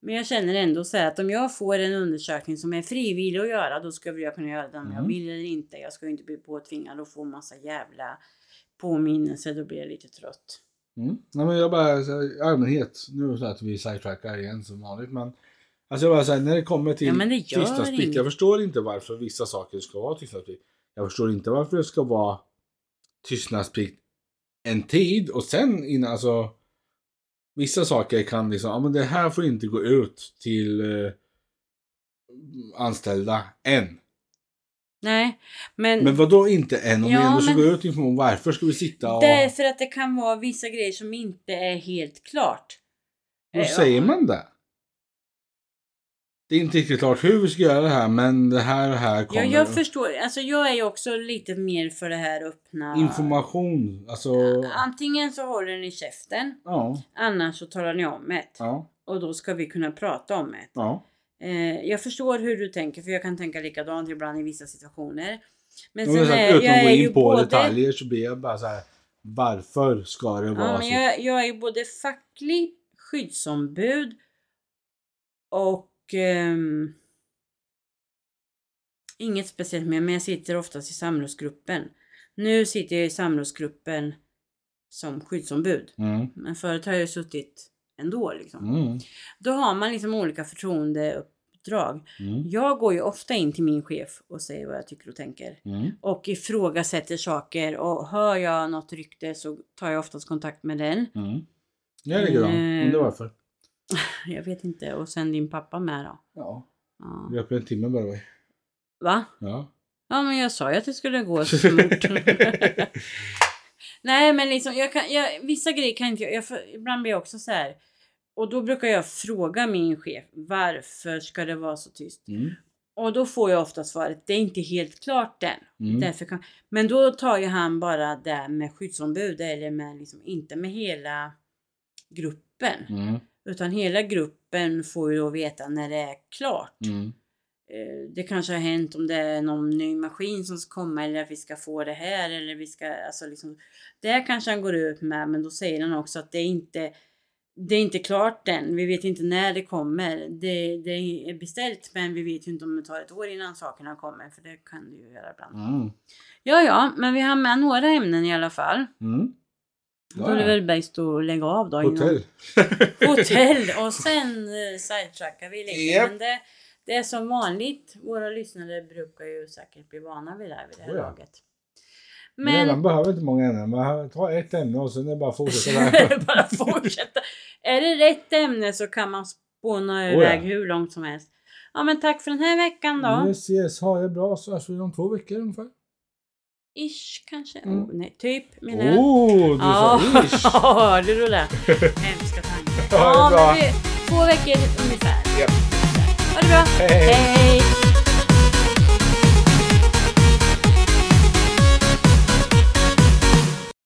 [SPEAKER 1] Men jag känner ändå så här att om jag får en undersökning som är frivillig att göra, då ska väl jag kunna göra den om jag
[SPEAKER 2] Mm.
[SPEAKER 1] vill eller inte. Jag ska ju inte bli påtvingad och få massa jävla påminnelser, då blir jag lite trött.
[SPEAKER 2] Mm. Nej, men jag bara så här, i allmänhet. Nu så att vi sidetrackar igen som vanligt, men. Alltså jag bara säger när det kommer till
[SPEAKER 1] Ja, men det gör
[SPEAKER 2] tystnadsplikt.
[SPEAKER 1] inget.
[SPEAKER 2] Jag förstår inte varför vissa saker ska vara tystnadsplikt. Jag förstår inte varför det ska vara tystnadsplikt en tid och sen innan alltså. Vissa saker kan liksom, ja men det här får inte gå ut till eh, anställda än.
[SPEAKER 1] Mm. Nej, men,
[SPEAKER 2] Men vad då inte än? Om vi
[SPEAKER 1] Ja,
[SPEAKER 2] ändå ska
[SPEAKER 1] men-
[SPEAKER 2] gå ut information, varför ska vi sitta och...
[SPEAKER 1] därför att det kan vara vissa grejer som inte är helt klart.
[SPEAKER 2] Då
[SPEAKER 1] Eh,
[SPEAKER 2] säger
[SPEAKER 1] ja.
[SPEAKER 2] man det. Det är inte riktigt klart hur vi ska göra det här men det här och här
[SPEAKER 1] Ja,
[SPEAKER 2] kommer.
[SPEAKER 1] jag förstår. Alltså jag är ju också lite mer för det här öppna.
[SPEAKER 2] Information, alltså.
[SPEAKER 1] Antingen så håller ni käften,
[SPEAKER 2] Ja,
[SPEAKER 1] annars så talar ni om det.
[SPEAKER 2] ja,
[SPEAKER 1] Och då ska vi kunna prata om det.
[SPEAKER 2] ja.
[SPEAKER 1] Eh, jag förstår hur du tänker, för jag kan tänka likadant ibland i vissa situationer. Men
[SPEAKER 2] Men
[SPEAKER 1] sen
[SPEAKER 2] sen,
[SPEAKER 1] är,
[SPEAKER 2] utan
[SPEAKER 1] Alltså, jag
[SPEAKER 2] att gå
[SPEAKER 1] är ju
[SPEAKER 2] in på
[SPEAKER 1] både...
[SPEAKER 2] detaljer så blir jag bara så här. Varför ska det vara
[SPEAKER 1] Ja,
[SPEAKER 2] så?
[SPEAKER 1] men jag, jag är ju både facklig skyddsombud och ehm, inget speciellt mer, men jag sitter oftast i samrådsgruppen. Nu sitter jag i samrådsgruppen som skyddsombud,
[SPEAKER 2] Mm.
[SPEAKER 1] men förut har jag ju suttit ändå liksom.
[SPEAKER 2] Mm.
[SPEAKER 1] Då har man liksom olika förtroendeuppdrag.
[SPEAKER 2] Mm.
[SPEAKER 1] Jag går ju ofta in till min chef och säger vad jag tycker och tänker
[SPEAKER 2] Mm.
[SPEAKER 1] och ifrågasätter saker och hör jag något rykte så tar jag oftast kontakt med den.
[SPEAKER 2] Mm. Jag är likadan.
[SPEAKER 1] Eh.
[SPEAKER 2] Undrar varför.
[SPEAKER 1] Jag vet inte. Och sen din pappa med då?
[SPEAKER 2] Ja.
[SPEAKER 1] Ja.
[SPEAKER 2] Vi är uppe i en timme by the way.
[SPEAKER 1] Va?
[SPEAKER 2] Ja. Mm,
[SPEAKER 1] Ja men jag sa ju att det skulle gå så fort. Nej men liksom, jag kan, jag, vissa grejer kan inte jag, jag får, ibland blir jag också så här. Och då brukar jag fråga min chef varför ska det vara så tyst?
[SPEAKER 2] Mm.
[SPEAKER 1] Och då får jag ofta svaret, det är inte helt klart än.
[SPEAKER 2] Mm.
[SPEAKER 1] Därför kan, men då tar ju han bara det med skyddsombud eller med liksom, inte med hela gruppen.
[SPEAKER 2] Mm.
[SPEAKER 1] Utan hela gruppen får ju då veta när det är klart.
[SPEAKER 2] Mm.
[SPEAKER 1] Eh, Det kanske har hänt om det är någon ny maskin som ska komma eller att vi ska få det här eller vi ska alltså liksom. Det här kanske han går ut med men då säger han också att det är inte det är inte klart än. Vi vet inte när det kommer. Det, det är beställt men vi vet ju inte om det tar ett år innan sakerna kommer för det kan det ju göra ibland.
[SPEAKER 2] Mm.
[SPEAKER 1] Ja ja, men vi har med några ämnen i alla fall.
[SPEAKER 2] Mm.
[SPEAKER 1] Då är det
[SPEAKER 2] Ja,
[SPEAKER 1] väl bäst att lägga av då. innan-
[SPEAKER 2] Hotell.
[SPEAKER 1] hotell och sen eh, sidetrackar vi lite.
[SPEAKER 2] Japp.
[SPEAKER 1] Men det, det är som vanligt. Våra lyssnare brukar ju säkert bli vana vid det här vid det här
[SPEAKER 2] Oh ja.
[SPEAKER 1] laget.
[SPEAKER 2] Men... Man
[SPEAKER 1] Men
[SPEAKER 2] behöver inte många ämnen. Man tar ett ämne och sen är det bara att fortsätta där.
[SPEAKER 1] bara fortsätta. Är det rätt ämne så kan man spåna
[SPEAKER 2] Oh ja.
[SPEAKER 1] iväg hur långt som helst. Ja men tack för den här veckan då.
[SPEAKER 2] Nu ses, ha det bra så hörs vi om två veckor ungefär.
[SPEAKER 1] Ish kanske?
[SPEAKER 2] Mm.
[SPEAKER 1] Oh, nej, typ menar jag.
[SPEAKER 2] Oh, du
[SPEAKER 1] Ja,
[SPEAKER 2] sa ish!
[SPEAKER 1] hörde du det? Hemska tankar.
[SPEAKER 2] Ja, det är
[SPEAKER 1] men
[SPEAKER 2] bra.
[SPEAKER 1] vi, två veckor ungefär.
[SPEAKER 2] Japp.
[SPEAKER 1] Ha det bra.
[SPEAKER 2] Hej, hej.
[SPEAKER 1] hej.